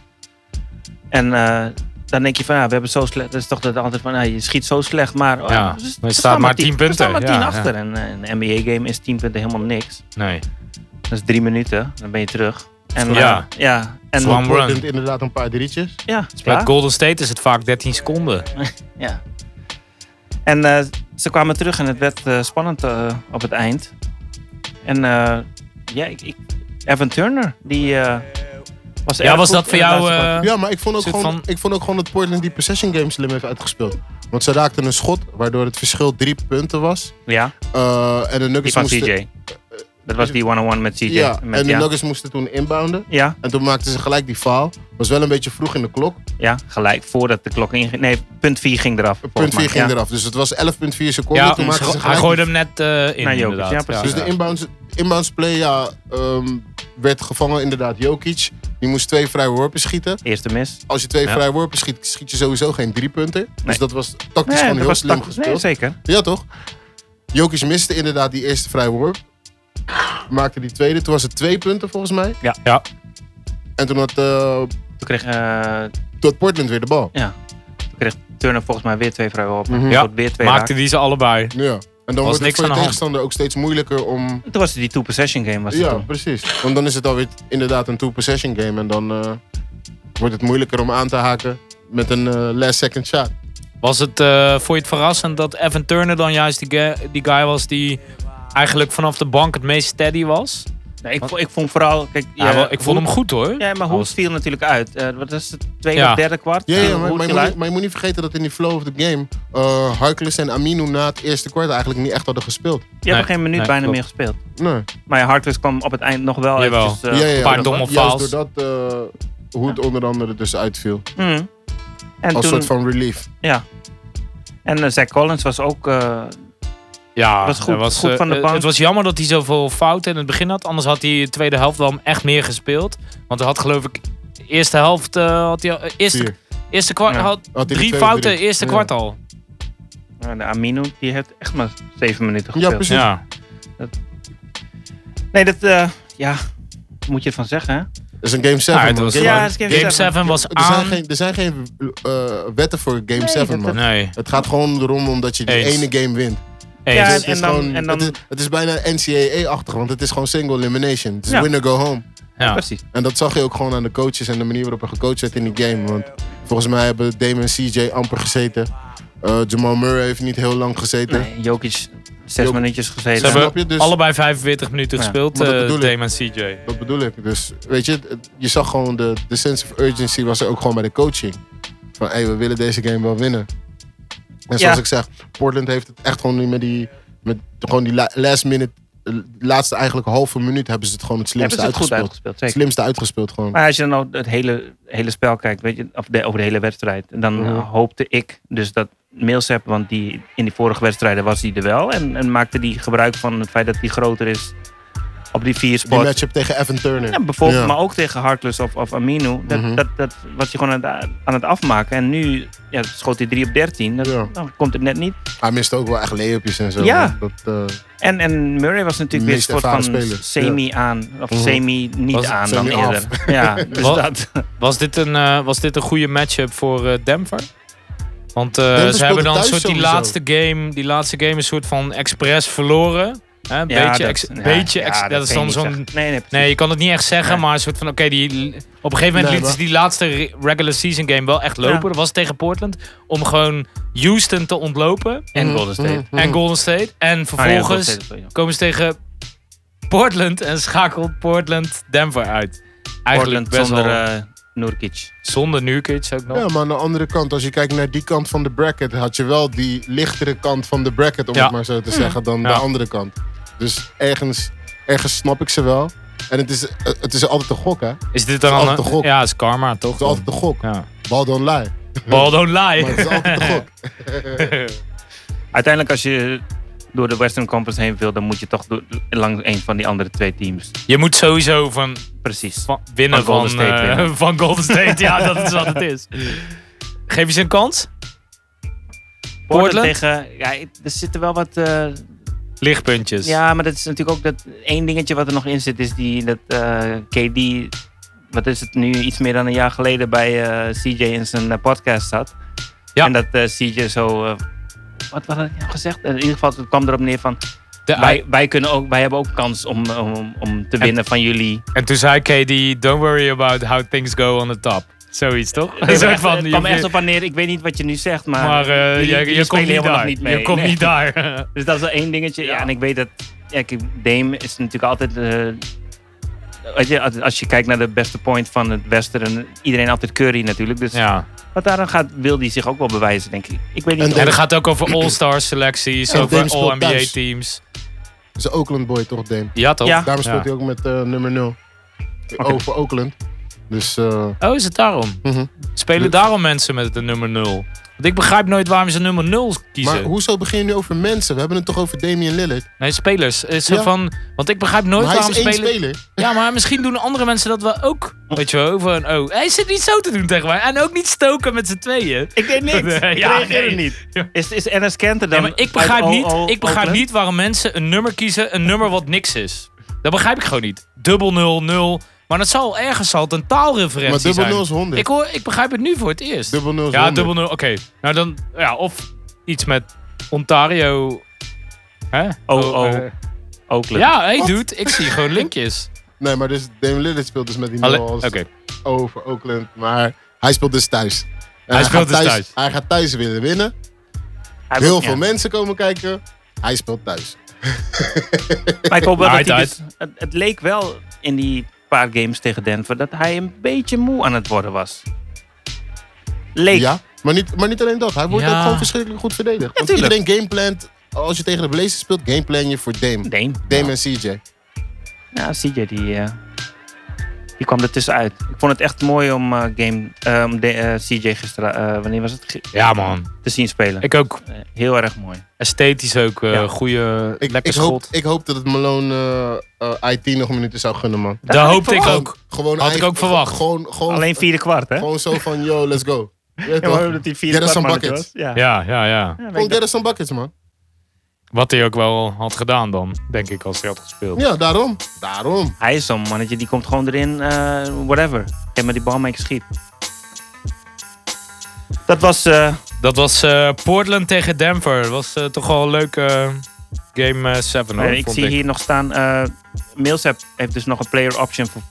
S7: En eh, dan denk je van ja, we hebben zo slecht. Dat is toch dat altijd van ja, je schiet zo slecht. Maar
S6: Ja,
S7: eh, ze-
S6: maar
S7: ze
S6: je staat
S7: staan
S6: maar 10 punten.
S7: Ze staan maar 10
S6: Ja, ja.
S7: achter. En eh, een NBA-game is 10 punten helemaal niks.
S6: Nee.
S7: Dat is drie minuten. Dan ben je terug. En,
S6: Ja.
S7: eh, ja. En
S6: Slam Home run.
S2: Portland inderdaad een paar drietjes.
S7: Ja,
S6: Bij
S7: ja.
S6: Golden State is het vaak 13 seconden.
S7: Ja. En eh, ze kwamen terug en het werd eh, spannend eh, op het eind. En eh, ja, ik, ik- Evan Turner, die eh, was
S6: Ja,
S7: erg
S6: was
S7: goed
S6: dat voor
S7: in de
S6: jou,
S7: laatste
S6: eh,
S7: kwart.
S2: Ja, maar ik vond, ook
S6: Zit
S2: gewoon,
S6: van-
S2: ik vond ook gewoon dat Portland die possession game slim heeft uitgespeeld. Want ze raakten een schot, waardoor het verschil drie punten was.
S7: ja,
S2: Eh, en de
S7: die
S2: Nuggets
S7: van
S2: moesten...
S7: CJ. Dat was die one-on-one met CJ.
S2: Ja,
S7: Met-
S2: en de
S7: ja.
S2: Nuggets moesten toen inbounden.
S7: ja,
S2: En toen maakten ze gelijk die faal. Was wel een beetje vroeg in de klok.
S7: ja, gelijk voordat de klok inging. Nee, punt 4 ging eraf.
S2: Punt
S7: volgens
S2: 4
S7: mij.
S2: ging
S7: Ja.
S2: eraf. Dus het was 11,4 seconden.
S6: Ja,
S2: toen maakten ze
S6: hij
S2: gelijk
S6: gooide
S2: die-
S6: hem net eh, in.
S7: Naar Jokic,
S6: inderdaad.
S7: ja, precies.
S2: Dus de inbounds, inbounds play ja, ehm, werd gevangen inderdaad Jokic. Die moest twee vrije worpen schieten.
S7: Eerste mis.
S2: Als je twee
S6: Ja.
S2: vrije worpen schiet, schiet je sowieso geen drie punten. Dus
S7: Nee.
S2: dat was tactisch
S7: Nee,
S2: gewoon
S7: dat
S2: heel
S7: was
S2: slim
S7: tactisch.
S2: gespeeld.
S7: Nee, zeker.
S2: Ja, toch? Jokic miste inderdaad die eerste vrije worp. Maakte die tweede. Toen was het twee punten volgens mij.
S7: Ja.
S6: Ja.
S2: En toen had, eh,
S7: Toen kreeg, eh,
S2: toen had Portland weer de bal.
S7: ja, toen kreeg Turner volgens mij weer twee vrijwel op.
S2: Mhm.
S6: Ja,
S7: weer twee
S6: Maakte
S7: raak.
S6: die ze allebei.
S2: Ja. En dan wordt het
S6: niks
S2: voor
S6: aan de
S2: je
S6: hand.
S2: tegenstander ook steeds moeilijker om...
S7: Toen was het die two-possession game. Was het
S2: Ja,
S7: toen.
S2: precies. Want dan is het alweer inderdaad een two-possession game. En dan eh, wordt het moeilijker om aan te haken met een eh, last second shot.
S6: Was het, eh vond je het verrassend dat Evan Turner dan juist die, ga- die guy was die eigenlijk vanaf de bank het meest steady was?
S7: Nee, ik, vo- ik vond vooral... Kijk,
S6: Ja, wel, ik vond hem goed hoor.
S7: Ja, maar hoe
S6: Alles-
S7: viel natuurlijk uit? Eh, wat is het tweede
S6: Ja.
S7: of derde kwart?
S2: Ja,
S7: Eh,
S2: ja maar,
S7: Hoed
S2: maar, je
S7: viel
S2: moet,
S7: uit.
S2: niet- maar je moet niet vergeten dat in die flow of the game... eh Harkless en Aminu na het eerste kwart eigenlijk niet echt hadden gespeeld.
S7: Je hebt er geen minuut
S6: nee,
S7: bijna
S6: klopt.
S7: meer gespeeld.
S2: Nee.
S7: Maar ja, Harkless kwam op het eind nog wel
S6: Jawel.
S7: eventjes... eh,
S2: Ja, ja, ja.
S6: Een paar domme
S2: Juist
S6: faals.
S2: doordat eh, hoe het onder andere dus uitviel.
S7: Mm. En,
S2: Als
S7: toen,
S2: soort van relief.
S7: ja. en eh, Zach Collins was ook... eh,
S6: Ja,
S7: Was goed-
S6: hij was,
S7: goed
S6: eh,
S7: van de
S6: eh,
S7: bank.
S6: Het was jammer dat hij zoveel fouten in het begin had. Anders had hij de tweede helft wel echt meer gespeeld. Want hij had geloof ik eerste helft eh, had hij al- eh, eerste,
S2: Vier.
S6: eerste kwart
S7: Ja.
S6: had,
S2: hij de
S6: drie
S2: tweede
S6: fouten
S2: drie.
S6: eerste
S2: Ja.
S6: kwart al.
S7: Nou, de Amino, die heeft echt maar zeven minuten
S2: Ja,
S7: gespeeld.
S2: precies.
S6: Ja.
S7: Nee, dat... eh, ja, moet je ervan zeggen, hè?
S2: Dat is een Game 7,
S6: Ja, het
S2: man.
S6: was
S2: Game-
S7: Ja,
S6: gewoon-
S7: het is Game
S6: game
S7: seven.
S6: 7 was
S2: er, zijn
S6: aan.
S2: geen, er zijn geen eh, wetten voor Game 7, man.
S6: Nee,
S2: Het gaat gewoon erom omdat je die
S6: Eens.
S2: ene game wint.
S7: Ja,
S6: eens.
S2: Het
S7: en
S2: is,
S7: dan-
S2: gewoon,
S7: en dan-
S2: het, is, het is bijna NCAA-achtig, want het is gewoon single elimination. Het is
S7: Ja.
S2: win or go home.
S6: Ja.
S7: Precies.
S2: En dat zag je ook gewoon aan de coaches en de manier waarop er gecoacht werd in die game. Want volgens mij hebben Damon en CJ amper gezeten. Eh, Jamal Murray heeft niet heel lang gezeten.
S7: Nee, Jokic, zes
S2: Jok-
S7: minuutjes gezeten.
S6: Ze
S2: Snap je?
S6: hebben
S2: Dus-
S6: allebei 45 minuten
S7: Ja,
S6: gespeeld,
S2: maar dat
S6: eh,
S2: bedoel ik.
S6: Dame en CJ.
S2: Dat bedoel ik. Dus weet je, het- je zag gewoon de, de sense of urgency was er ook gewoon bij de coaching. Van hé, we willen deze game wel winnen. En zoals
S7: Ja.
S2: ik zeg, Portland heeft het echt gewoon nu met die, met gewoon die la- last minute, eh, laatste eigenlijk halve minuut hebben ze het gewoon het
S7: hebben
S2: slimste
S7: ze het goed
S2: uitgespeeld.
S7: uitgespeeld, zeker.
S2: slimste uitgespeeld gewoon.
S7: Maar als je dan nou het hele, hele spel kijkt, weet je, of de, over de hele wedstrijd, dan
S2: Mhm.
S7: eh, hoopte ik dus dat Millsap, want die, in die vorige wedstrijden was hij er wel en, en maakte die gebruik van het feit dat hij groter is op die vier
S2: Die
S7: spot.
S2: matchup tegen Evan Turner.
S7: Ja, bijvoorbeeld,
S2: Ja.
S7: maar ook tegen Harkless of, of Aminu. Dat,
S2: Mhm.
S7: dat, dat was hij gewoon aan het, aan het afmaken. En nu ja, schoot hij 3 op 13. Dat,
S2: Ja.
S7: Dan komt het net niet.
S2: Hij miste ook wel echt layupjes en zo.
S7: Ja.
S2: man. Dat, eh,
S7: En, en Murray was natuurlijk weer een
S2: Meest
S7: soort van
S2: ervaren speler.
S7: semi aan. Of
S2: Mhm.
S7: semi niet
S6: Was-
S7: aan
S2: semi af.
S7: dan eerder. Ja, dus
S6: Wat?
S7: dat.
S6: Was dit een, eh, was dit een goede matchup voor eh, Denver? Want eh,
S2: speelde
S6: ze hebben dan een
S2: thuis
S6: soort die
S2: sowieso.
S6: laatste game, die laatste game een soort van expres verloren. Hè, een beetje,
S7: dat-
S6: ex-
S7: ja,
S6: beetje
S7: ja,
S6: ex- dat, is
S7: kan
S6: dan
S7: je niet
S6: zo'n.
S7: zeggen. Nee, nee, precies.
S6: Nee, je kan het niet echt zeggen,
S7: Nee.
S6: maar een soort van oké, die op een gegeven moment
S2: Nee,
S6: lieten ze die laatste re- regular season game wel echt lopen.
S7: Ja.
S6: Dat was tegen Portland om gewoon Houston te ontlopen
S7: En Golden State.
S2: mhm.
S6: en Golden State en
S7: Ah, ja,
S6: vervolgens
S7: Golden State, sorry.
S6: komen ze tegen Portland en schakelt Portland Denver uit. Eigenlijk
S7: Portland
S6: best
S7: zonder
S6: wel
S7: eh, Nurkic.
S6: zonder Nurkic ook nog.
S2: Ja, maar aan de andere kant, als je kijkt naar die kant van de bracket, had je wel die lichtere kant van de bracket, om
S6: Ja. Mm.
S2: het maar zo te zeggen, dan
S6: Ja.
S2: de andere kant. Dus ergens, ergens snap ik ze wel. En het is, het is altijd een gok, hè? Het
S6: Is dit dan
S2: Het is
S6: al
S2: altijd een gok.
S6: Ja, is karma toch?
S2: is altijd een gok.
S6: Ja.
S2: Ball don't lie.
S6: Ball don't lie.
S2: Maar het is altijd een gok.
S7: Uiteindelijk als je door de Western Conference heen wil, dan moet je toch door, langs een van die andere twee teams.
S6: Je moet sowieso van,
S7: Precies.
S6: van winnen
S7: Van
S6: van,
S7: Golden State
S6: eh,
S7: winnen.
S6: van Golden State. ja, dat is wat het is. Geef je ze een kans? Portland?
S7: tegen... Ja, ik- er zitten wel wat... eh,
S6: Lichtpuntjes.
S7: ja, maar dat is natuurlijk ook dat... één dingetje wat er nog in zit is die, dat eh, KD... Wat is het nu? Iets meer dan een jaar geleden bij eh, CJ in zijn eh, podcast zat.
S6: Ja.
S7: En dat eh, CJ zo... eh, wat had hij nou gezegd? In ieder geval het kwam erop neer van...
S6: De-
S7: Wij, wij, kunnen ook, wij hebben ook kans om, om, om te winnen van jullie.
S6: En toen zei KD, don't worry about how things go on the top. Zoiets toch? Een soort van,
S7: het
S6: je-
S7: kwam echt op wanneer, ik weet niet wat je nu zegt, maar,
S6: Maar eh,
S7: jullie-
S6: je,
S7: jullie
S6: je
S7: spelen
S6: komt niet
S7: helemaal
S6: daar.
S7: nog niet mee.
S6: Je komt
S7: Nee.
S6: niet daar.
S7: Dus dat is wel één dingetje. Ja.
S6: Ja.
S7: en ik weet dat ja, kijk, Dame is natuurlijk altijd... eh, weet je, als- als je kijkt naar de beste point van het Westen, iedereen altijd Curry natuurlijk. Dus
S6: ja.
S7: wat daaraan gaat, wil die zich ook wel bewijzen, denk ik. Ik weet niet
S2: En
S7: of-
S6: En dat gaat ook over all-star selecties,
S2: En Dame
S6: over
S2: speelt
S6: all-NBA
S2: thuis.
S6: teams.
S2: Het is een Oakland boy, toch, Dame?
S6: Ja toch?
S7: Ja.
S2: Daarom speelt
S6: Ja.
S2: hij ook met eh, nummer 0. Over Oakland. Dus eh,
S6: Oh, is het daarom?
S2: Mhm.
S6: Spelen daarom mensen met de nummer 0? Want ik begrijp nooit waarom ze nummer 0 kiezen.
S2: Maar hoezo begin je nu over mensen? We hebben het toch over Damian Lillard?
S6: Nee, spelers. Het Is zo
S2: Ja.
S6: van, want ik begrijp nooit
S2: Maar hij
S6: waarom
S2: is één
S6: spelers...
S2: speler.
S6: Ja, maar misschien doen andere mensen dat wel ook. Weet je wel, van, oh, hij zit niet zo te doen tegen mij. En ook niet stoken met z'n tweeën.
S7: Ik deed niks.
S6: Ja,
S7: ik reageerde
S6: nee.
S7: niet.
S6: Ja.
S7: Is, is Enes Kanter dan
S6: Nee, maar ik begrijp,
S7: uit
S6: niet,
S7: OO
S6: ik begrijp
S7: Oakland?
S6: niet waarom mensen een nummer kiezen, een nummer wat niks is. Dat begrijp ik gewoon niet. Dubbel nul, nul. Maar dat zal ergens altijd een taalreferentie
S2: Maar dubbel
S6: zijn.
S2: nul is 100.
S6: Ik, hoor, ik begrijp het nu voor het eerst.
S2: Dubbel nul is
S6: Ja,
S2: 100.
S6: dubbel nul. Oké. Nou dan, ja, of iets met Ontario. Hè?
S7: Oh, oh.
S6: eh,
S7: Oakland.
S6: Ja, hey dude, ik zie gewoon linkjes.
S2: Nee, maar dus Damian Lillard speelt dus met die
S6: Alle-
S2: 0 als
S6: Oké.
S2: over Oakland. Maar hij speelt dus thuis. En
S6: speelt
S2: gaat
S6: dus thuis.
S2: Hij gaat thuis willen winnen.
S7: Hij wil-
S2: Heel
S7: ja.
S2: veel mensen komen kijken. Hij speelt thuis.
S7: Maar ik hoop wel dat hij
S6: Night
S7: dus, het, het leek wel in die paar games tegen Denver dat hij een beetje moe aan het worden was. Leek.
S2: Ja, maar niet, maar niet alleen dat. Hij wordt
S6: Ja.
S2: ook gewoon verschrikkelijk goed verdedigd. Want
S7: tuurlijk.
S2: iedereen gameplant, als je tegen de Blazers speelt, gameplan je voor Dame.
S7: Dame.
S2: Dame en CJ.
S7: Ja, CJ die, eh, die kwam er tussenuit. Ik vond het echt mooi om eh, game, eh, om de- eh, CJ gisteren, eh, wanneer was het? Ge-
S6: Ja, man.
S7: Te zien spelen.
S6: Ik ook.
S7: Eh, heel erg mooi.
S6: Esthetisch ook. eh
S7: Ja.
S6: Goede,
S2: Ik,
S6: lekker
S2: ik, hoop,
S6: schot.
S2: ik hoop dat het Malone eh, eh, IT nog minuten zou gunnen, man.
S6: Daar
S7: Dat had ik
S6: hoopte ik
S7: verwacht.
S6: ook.
S2: Gewoon
S6: Had ik
S2: eigen-
S6: ook verwacht.
S2: Gewoon, gewoon,
S7: Alleen vierde kwart, hè?
S2: gewoon zo van, yo, let's go. Ja,
S7: Ja,
S2: toch?
S7: maar omdat die vierde
S2: Get us some
S7: kwart mannetje was.
S2: buckets.
S7: Ja.
S6: Ja, ja, ja.
S7: Ja, maar ik
S2: Gewoon
S7: dacht-
S2: get us some buckets, man.
S6: Wat hij ook wel had gedaan dan, denk ik, als hij had gespeeld.
S2: Ja, daarom. Daarom.
S7: Hij is zo'n mannetje, die komt gewoon erin, eh, whatever. Geef maar die bal mee, ik schiet. Dat was... eh,
S6: Dat was eh, Portland tegen Denver. Dat was eh, toch wel een leuke eh, game 7.
S7: Eh, ik zie hier nog staan, eh Millsap heeft dus nog een player option voor,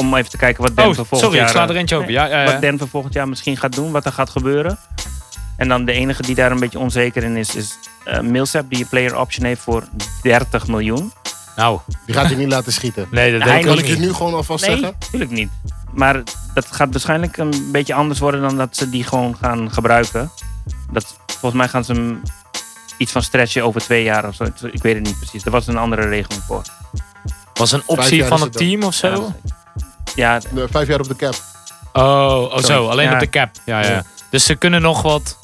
S7: om even te kijken wat Denver
S6: Oh,
S7: volgend
S6: sorry,
S7: jaar...
S6: ik sla
S7: eh,
S6: er eentje over.
S7: nee,
S6: Ja, ja, ja.
S7: Wat Denver volgend jaar misschien gaat doen, wat er gaat gebeuren. En dan de enige die daar een beetje onzeker in is, is eh Millsap die een player option heeft voor 30 miljoen.
S6: Nou,
S2: Die gaat je niet laten schieten.
S6: nee, dat
S7: Nee,
S6: denk ik
S2: Kan
S6: ook
S2: ik je
S6: niet.
S2: nu gewoon alvast
S7: Nee,
S2: zeggen?
S7: natuurlijk niet. Maar dat gaat waarschijnlijk een beetje anders worden dan dat ze die gewoon gaan gebruiken. Dat, volgens mij gaan ze hem iets van stretchen over twee jaar of zo. Ik weet het niet precies. Er was een andere regeling voor.
S6: Was een
S2: Vijf
S6: optie
S2: jaar
S6: van
S2: is
S6: het
S2: het dan.
S6: team of zo?
S7: Ja,
S2: Nee, Eh, Vijf jaar op de cap.
S6: Oh, oh zo,
S7: Zoiets.
S6: alleen
S7: Ja.
S6: op de cap. Ja, ja.
S2: Ja.
S6: Dus ze kunnen nog wat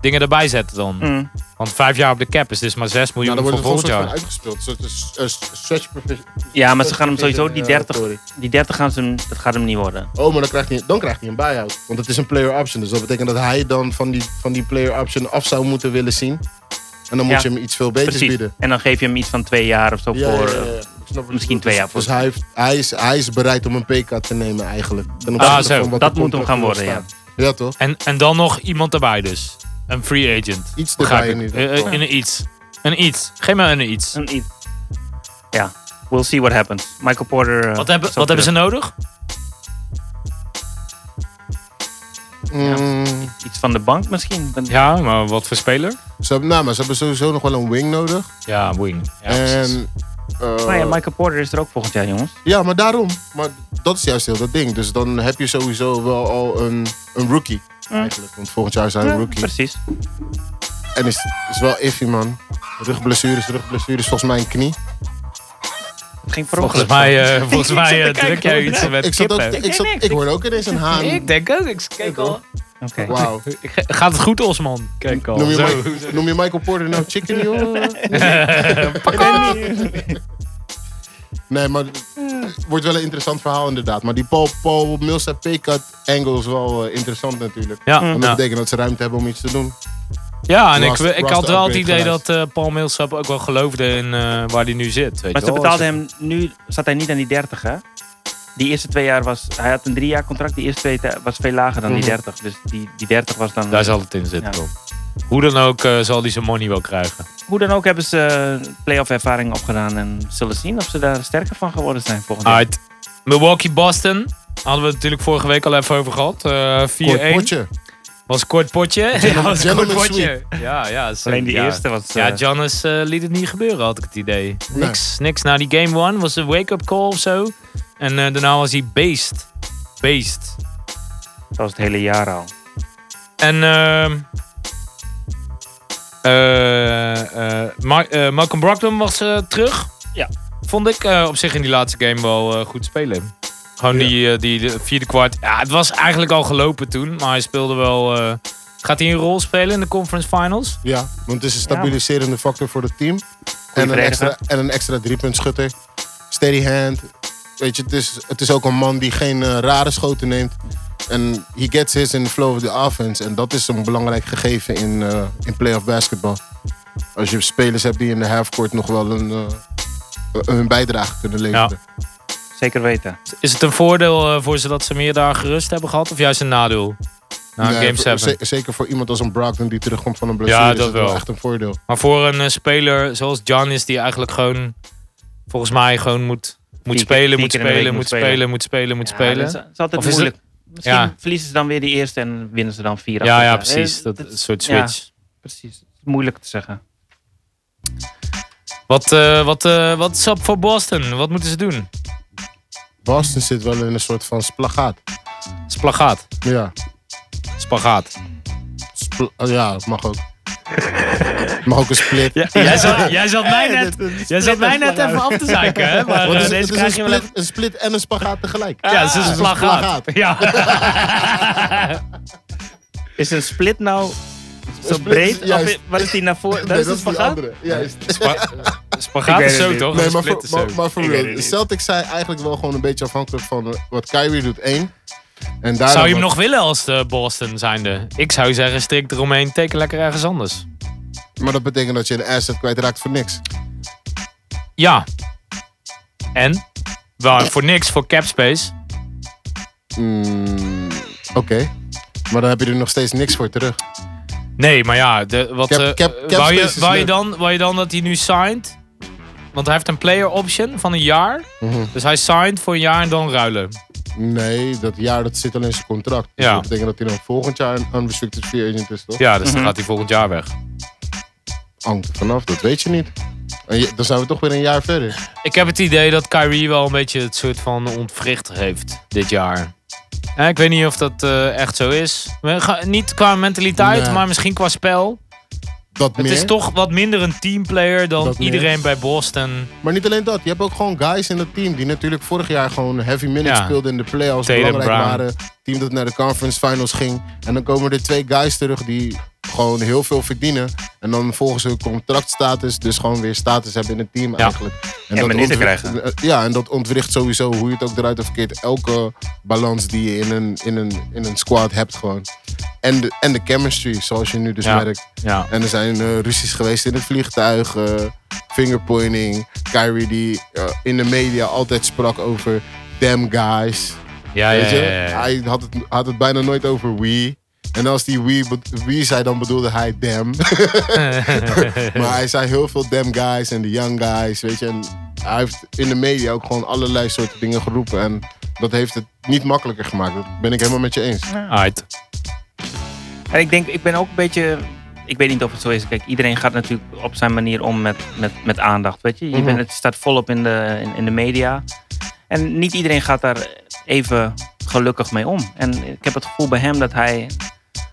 S6: dingen erbij zetten dan.
S7: mm,
S6: Want vijf jaar op de cap is dus maar 6
S2: Ja,
S6: miljoen
S2: Nou, dan wordt
S6: voor
S2: het gewoon
S6: volgend
S2: soort van
S6: jaar.
S2: uitgespeeld. Een soort eh, s- eh, stretch provision.
S7: ja maar ze gaan hem sowieso, die
S2: Eh,
S7: 30,
S2: sorry.
S7: die 30 gaan ze hem, dat gaat hem niet worden.
S2: Oh, maar dan krijgt, hij, dan krijgt hij een buy-out. Want het is een player option. Dus dat betekent dat hij dan van die, van die player option af zou moeten willen zien. En dan moet
S7: Ja.
S2: je hem iets veel beters
S7: Precies.
S2: bieden.
S7: En dan geef je hem iets van twee jaar of zo
S2: Ja,
S7: voor.
S2: ja, ja, ja.
S7: eh,
S2: Ik snap wat je
S7: misschien
S2: bedoelt.
S7: twee jaar
S2: Dus-
S7: voor.
S2: Dus hij, heeft, hij, is, hij is bereid om een pk te nemen eigenlijk. Ten opzichte
S6: Ah, zo.
S2: van wat
S7: Dat
S2: de
S7: moet hem gaan
S2: contract
S7: worden, ja.
S2: staat. Ja, toch?
S6: En, en dan nog iemand erbij dus. Een free agent.
S2: Iets
S6: Begrijp
S2: erbij
S6: ik.
S2: in ieder
S6: Eh, eh,
S2: geval.
S6: in een iets. Een iets. Geef maar een iets.
S7: een iets. Ja, we'll see what happens. Michael Porter. eh,
S6: Wat hebben,
S7: is ook
S6: wat hebben ze
S7: terug.
S6: nodig?
S2: Mm,
S7: Iets van de bank misschien? Dan-
S6: Ja, maar wat voor speler?
S2: ze, hebben, nou, maar ze hebben sowieso nog wel een wing nodig.
S6: Ja, wing. Ja,
S2: Ehm,
S6: precies.
S2: en, eh,
S7: Nou ja, Michael Porter is er ook volgend jaar, jongens.
S2: ja, maar daarom. Maar dat is juist heel dat ding. Dus dan heb je sowieso wel al een, een rookie. Eigenlijk. Want volgend jaar zijn we
S7: Ja,
S2: rookie.
S7: Precies.
S2: En is, is wel iffy, man. Rugblessures, rugblessures, volgens mij een knie.
S7: Het ging per
S6: Volgens
S7: ongeluk.
S6: mij, eh, volgens mij eh, druk jij
S7: hoe
S6: iets met
S2: Ik, zat ook,
S6: kippen.
S2: ik, zat, ik hoorde ook ineens een haan.
S6: denk ook, ik kijk al.
S7: Oké.
S2: Wauw.
S6: Gaat het goed, Osman? Kijk al.
S2: Noem, je
S6: Zo.
S2: Mike- noem je Michael Porter nou chicken, joh? Nee, maar het wordt wel een interessant verhaal inderdaad. Maar die Paul, Paul Millsap P-cut angle is wel eh, interessant natuurlijk.
S6: Ja, nou.
S2: Want dat
S6: ja.
S2: betekent dat ze ruimte hebben om iets te doen.
S6: ja, en ik,
S2: Rust-
S6: ik
S2: Rust
S6: had wel het
S2: upgrade
S6: idee
S2: geluid.
S6: dat eh, Paul Millsap ook wel geloofde in eh, waar hij nu zit. Weet
S7: Maar
S6: je
S7: ze
S6: wel. Dus
S7: betaalden hem nu, zat hij niet aan die 30, hè? Die eerste twee jaar was, hij had een drie jaar contract, die eerste twee ta- was veel lager dan die 30. Dus die, die 30 was dan.
S6: Daar zal het in zitten.
S7: Ja.
S6: Tom. Hoe dan ook eh, zal hij zijn money wel krijgen.
S7: Hoe dan ook hebben ze eh, playoff ervaring opgedaan en zullen zien of ze daar sterker van geworden zijn volgend jaar.
S6: Uit Milwaukee-Boston. Hadden we het natuurlijk vorige week al even over gehad. Eh 4-1.
S2: Kort potje.
S6: Was een kort potje. Ja, was een kort
S2: gentleman
S6: potje. Ja, ja. zeker.
S7: Alleen die
S6: Ja.
S7: eerste was. eh,
S6: Ja, Giannis eh, liet het niet gebeuren, had ik het idee.
S2: Nee.
S6: Niks, niks. Na die game one was een wake-up call of zo. En eh, daarna was hij beest. Beest.
S7: dat was het hele jaar al.
S6: En ehm eh, eh, Ma- eh, Malcolm Brogdon was eh, terug.
S7: Ja.
S6: Vond ik eh, op zich in die laatste game wel eh, goed spelen. Gewoon die, eh, die de vierde kwart. Ja, het was eigenlijk al gelopen toen, maar hij speelde wel... eh, gaat hij een rol spelen in de conference finals?
S2: Ja, want het is een stabiliserende factor voor het team. En een,
S7: verdediger.
S2: extra, en een extra driepuntschutter. Steady hand. Weet je, het is, het is ook een man die geen eh, rare schoten neemt. En he gets his in the flow of the offense. En dat is een belangrijk gegeven in, eh in playoff basketball. Als je spelers hebt die in de halfcourt nog wel een, eh, hun bijdrage kunnen leveren.
S7: Zeker weten.
S6: Is het een voordeel eh, voor ze dat ze meer dagen gerust hebben gehad? Of juist een nadeel? Na
S2: Nee,
S6: nou, game
S2: voor-
S6: 7.
S2: ze- Zeker voor iemand als een Brogdon die terugkomt van een blessure.
S6: Ja,
S2: is
S6: dat
S2: het
S6: wel.
S2: echt een voordeel.
S6: Maar voor een eh, speler zoals Giannis, die eigenlijk gewoon, volgens mij, gewoon moet, moet
S7: keer-
S6: spelen,
S7: vier
S6: moet
S7: keer in de week
S6: spelen,
S7: moet
S6: moet
S7: spelen.
S6: spelen, moet spelen, moet
S7: Ja,
S6: spelen.
S7: dat is, dat is altijd
S6: Of is
S7: moeilijk. Misschien
S6: Ja.
S7: verliezen ze dan weer die eerste en winnen ze dan vier.
S6: Ja,
S7: achter
S6: ja,
S7: elkaar.
S6: precies.
S7: Eh,
S6: Dat
S7: het-
S6: soort
S7: ja,
S6: switch.
S7: precies. Het is Moeilijk te zeggen.
S6: Wat, eh, wat, eh, wat is op voor Boston? Wat moeten ze doen?
S2: Boston zit wel in een soort van splagaat.
S6: Splagaat.
S2: Ja,
S6: Spagaat.
S2: spl- eh, ja het mag ook. Het mag ook een split.
S6: Jij zat, jij zat mij net,
S2: dat- dat
S6: jij zat mij net even af te zeiken, hè? Maar
S2: Want
S6: eh,
S2: het is,
S6: deze
S2: het is
S6: krijg je
S2: een,
S6: wel
S2: split,
S6: even...
S2: een split en een spagaat tegelijk.
S6: Ja, ze is een
S2: een
S6: plagaat.
S2: plagaat.
S6: Ja.
S7: Is een split nou zo
S2: split is
S7: breed? Of
S2: juist-
S7: i- wat is die naar voren?
S2: Nee,
S7: Dat is het
S2: die
S7: spagaat?
S2: andere. Ja, is-
S6: Spagaat
S7: Ik
S6: is
S7: weet
S6: zo,
S7: het
S6: toch?
S2: Nee,
S6: Een
S2: maar
S6: split
S2: voor,
S6: is zo.
S2: maar, maar voor
S7: Ik weet
S2: real.
S7: het
S2: De
S7: niet.
S2: Celtics zijn eigenlijk wel gewoon een beetje afhankelijk van wat Kyrie doet één. En daar
S6: Zou je hem nog willen als de Boston zijnde? Ik zou zeggen, strik eromheen, teken lekker ergens anders.
S2: Maar dat betekent dat je een asset kwijtraakt voor niks.
S6: Ja. En? Wel, voor niks, voor capspace.
S2: Mm, Oké. Maar dan heb je er nog steeds niks voor terug.
S6: Nee, maar ja, de, wat,
S2: Cap-
S6: eh,
S2: cap-
S6: eh,
S2: cap
S6: wou, je,
S2: space is
S6: wou, je
S2: leuk.
S6: dan, wou je dan dat hij nu signed? Want hij heeft een player option van een jaar.
S2: Mhm.
S6: Dus hij signed voor een jaar en dan ruilen.
S2: Nee, dat jaar dat zit alleen in zijn contract. Dus
S6: Ja.
S2: dat betekent dat hij dan volgend jaar een unrestricted free agent is, toch?
S6: Ja, dus dan gaat hij volgend jaar weg.
S2: Hangt er vanaf, dat weet je niet. En je- dan zijn we toch weer een jaar verder.
S6: Ik heb het idee dat Kyrie wel een beetje het soort van ontwricht heeft dit jaar. Ja, ik weet niet of dat eh, echt zo is. We gaan- niet qua mentaliteit,
S2: Nee.
S6: maar misschien qua spel.
S2: Dat
S6: Het
S2: meer.
S6: is toch wat minder een teamplayer dan
S2: Dat meer.
S6: iedereen bij Boston.
S2: Maar niet alleen dat. Je hebt ook gewoon guys in het team die natuurlijk vorig jaar gewoon heavy minutes
S6: Ja.
S2: speelden in de playoffs.
S6: Tatum,
S2: belangrijk
S6: Brown.
S2: waren. Team dat naar de conference finals ging. En dan komen er twee guys terug die gewoon heel veel verdienen. En dan volgens hun contractstatus dus gewoon weer status hebben in het team eigenlijk. En, dat
S7: minuten
S2: ontwricht-
S7: krijgen.
S2: eh, Ja, en dat ontwricht sowieso hoe je het ook eruit of verkeerd. Elke balans die je in een, in een, in een squad hebt gewoon. En de, en de chemistry, zoals je nu dus
S6: Ja.
S2: merkt.
S6: Ja.
S2: En er zijn eh, ruzies geweest in het vliegtuig, eh, fingerpointing. Kyrie die eh, in de media altijd sprak over damn guys.
S6: Ja, ja,
S2: weet je?
S6: ja, ja, ja.
S2: Hij had het, had het bijna nooit over we. En als die we, be- we zei, dan bedoelde hij damn. maar hij zei heel veel damn guys en de young guys, weet je. En hij heeft in de media ook gewoon allerlei soorten dingen geroepen. En dat heeft het niet makkelijker gemaakt. Dat ben ik helemaal met je eens.
S6: Alright.
S7: En ik denk, ik ben ook een beetje. Ik weet niet of het zo is. Kijk, iedereen gaat natuurlijk op zijn manier om met, met, met aandacht. Weet je, je
S2: Mhm.
S7: bent, het staat volop in de, in, in de media. En niet iedereen gaat daar even gelukkig mee om. En ik heb het gevoel bij hem dat hij.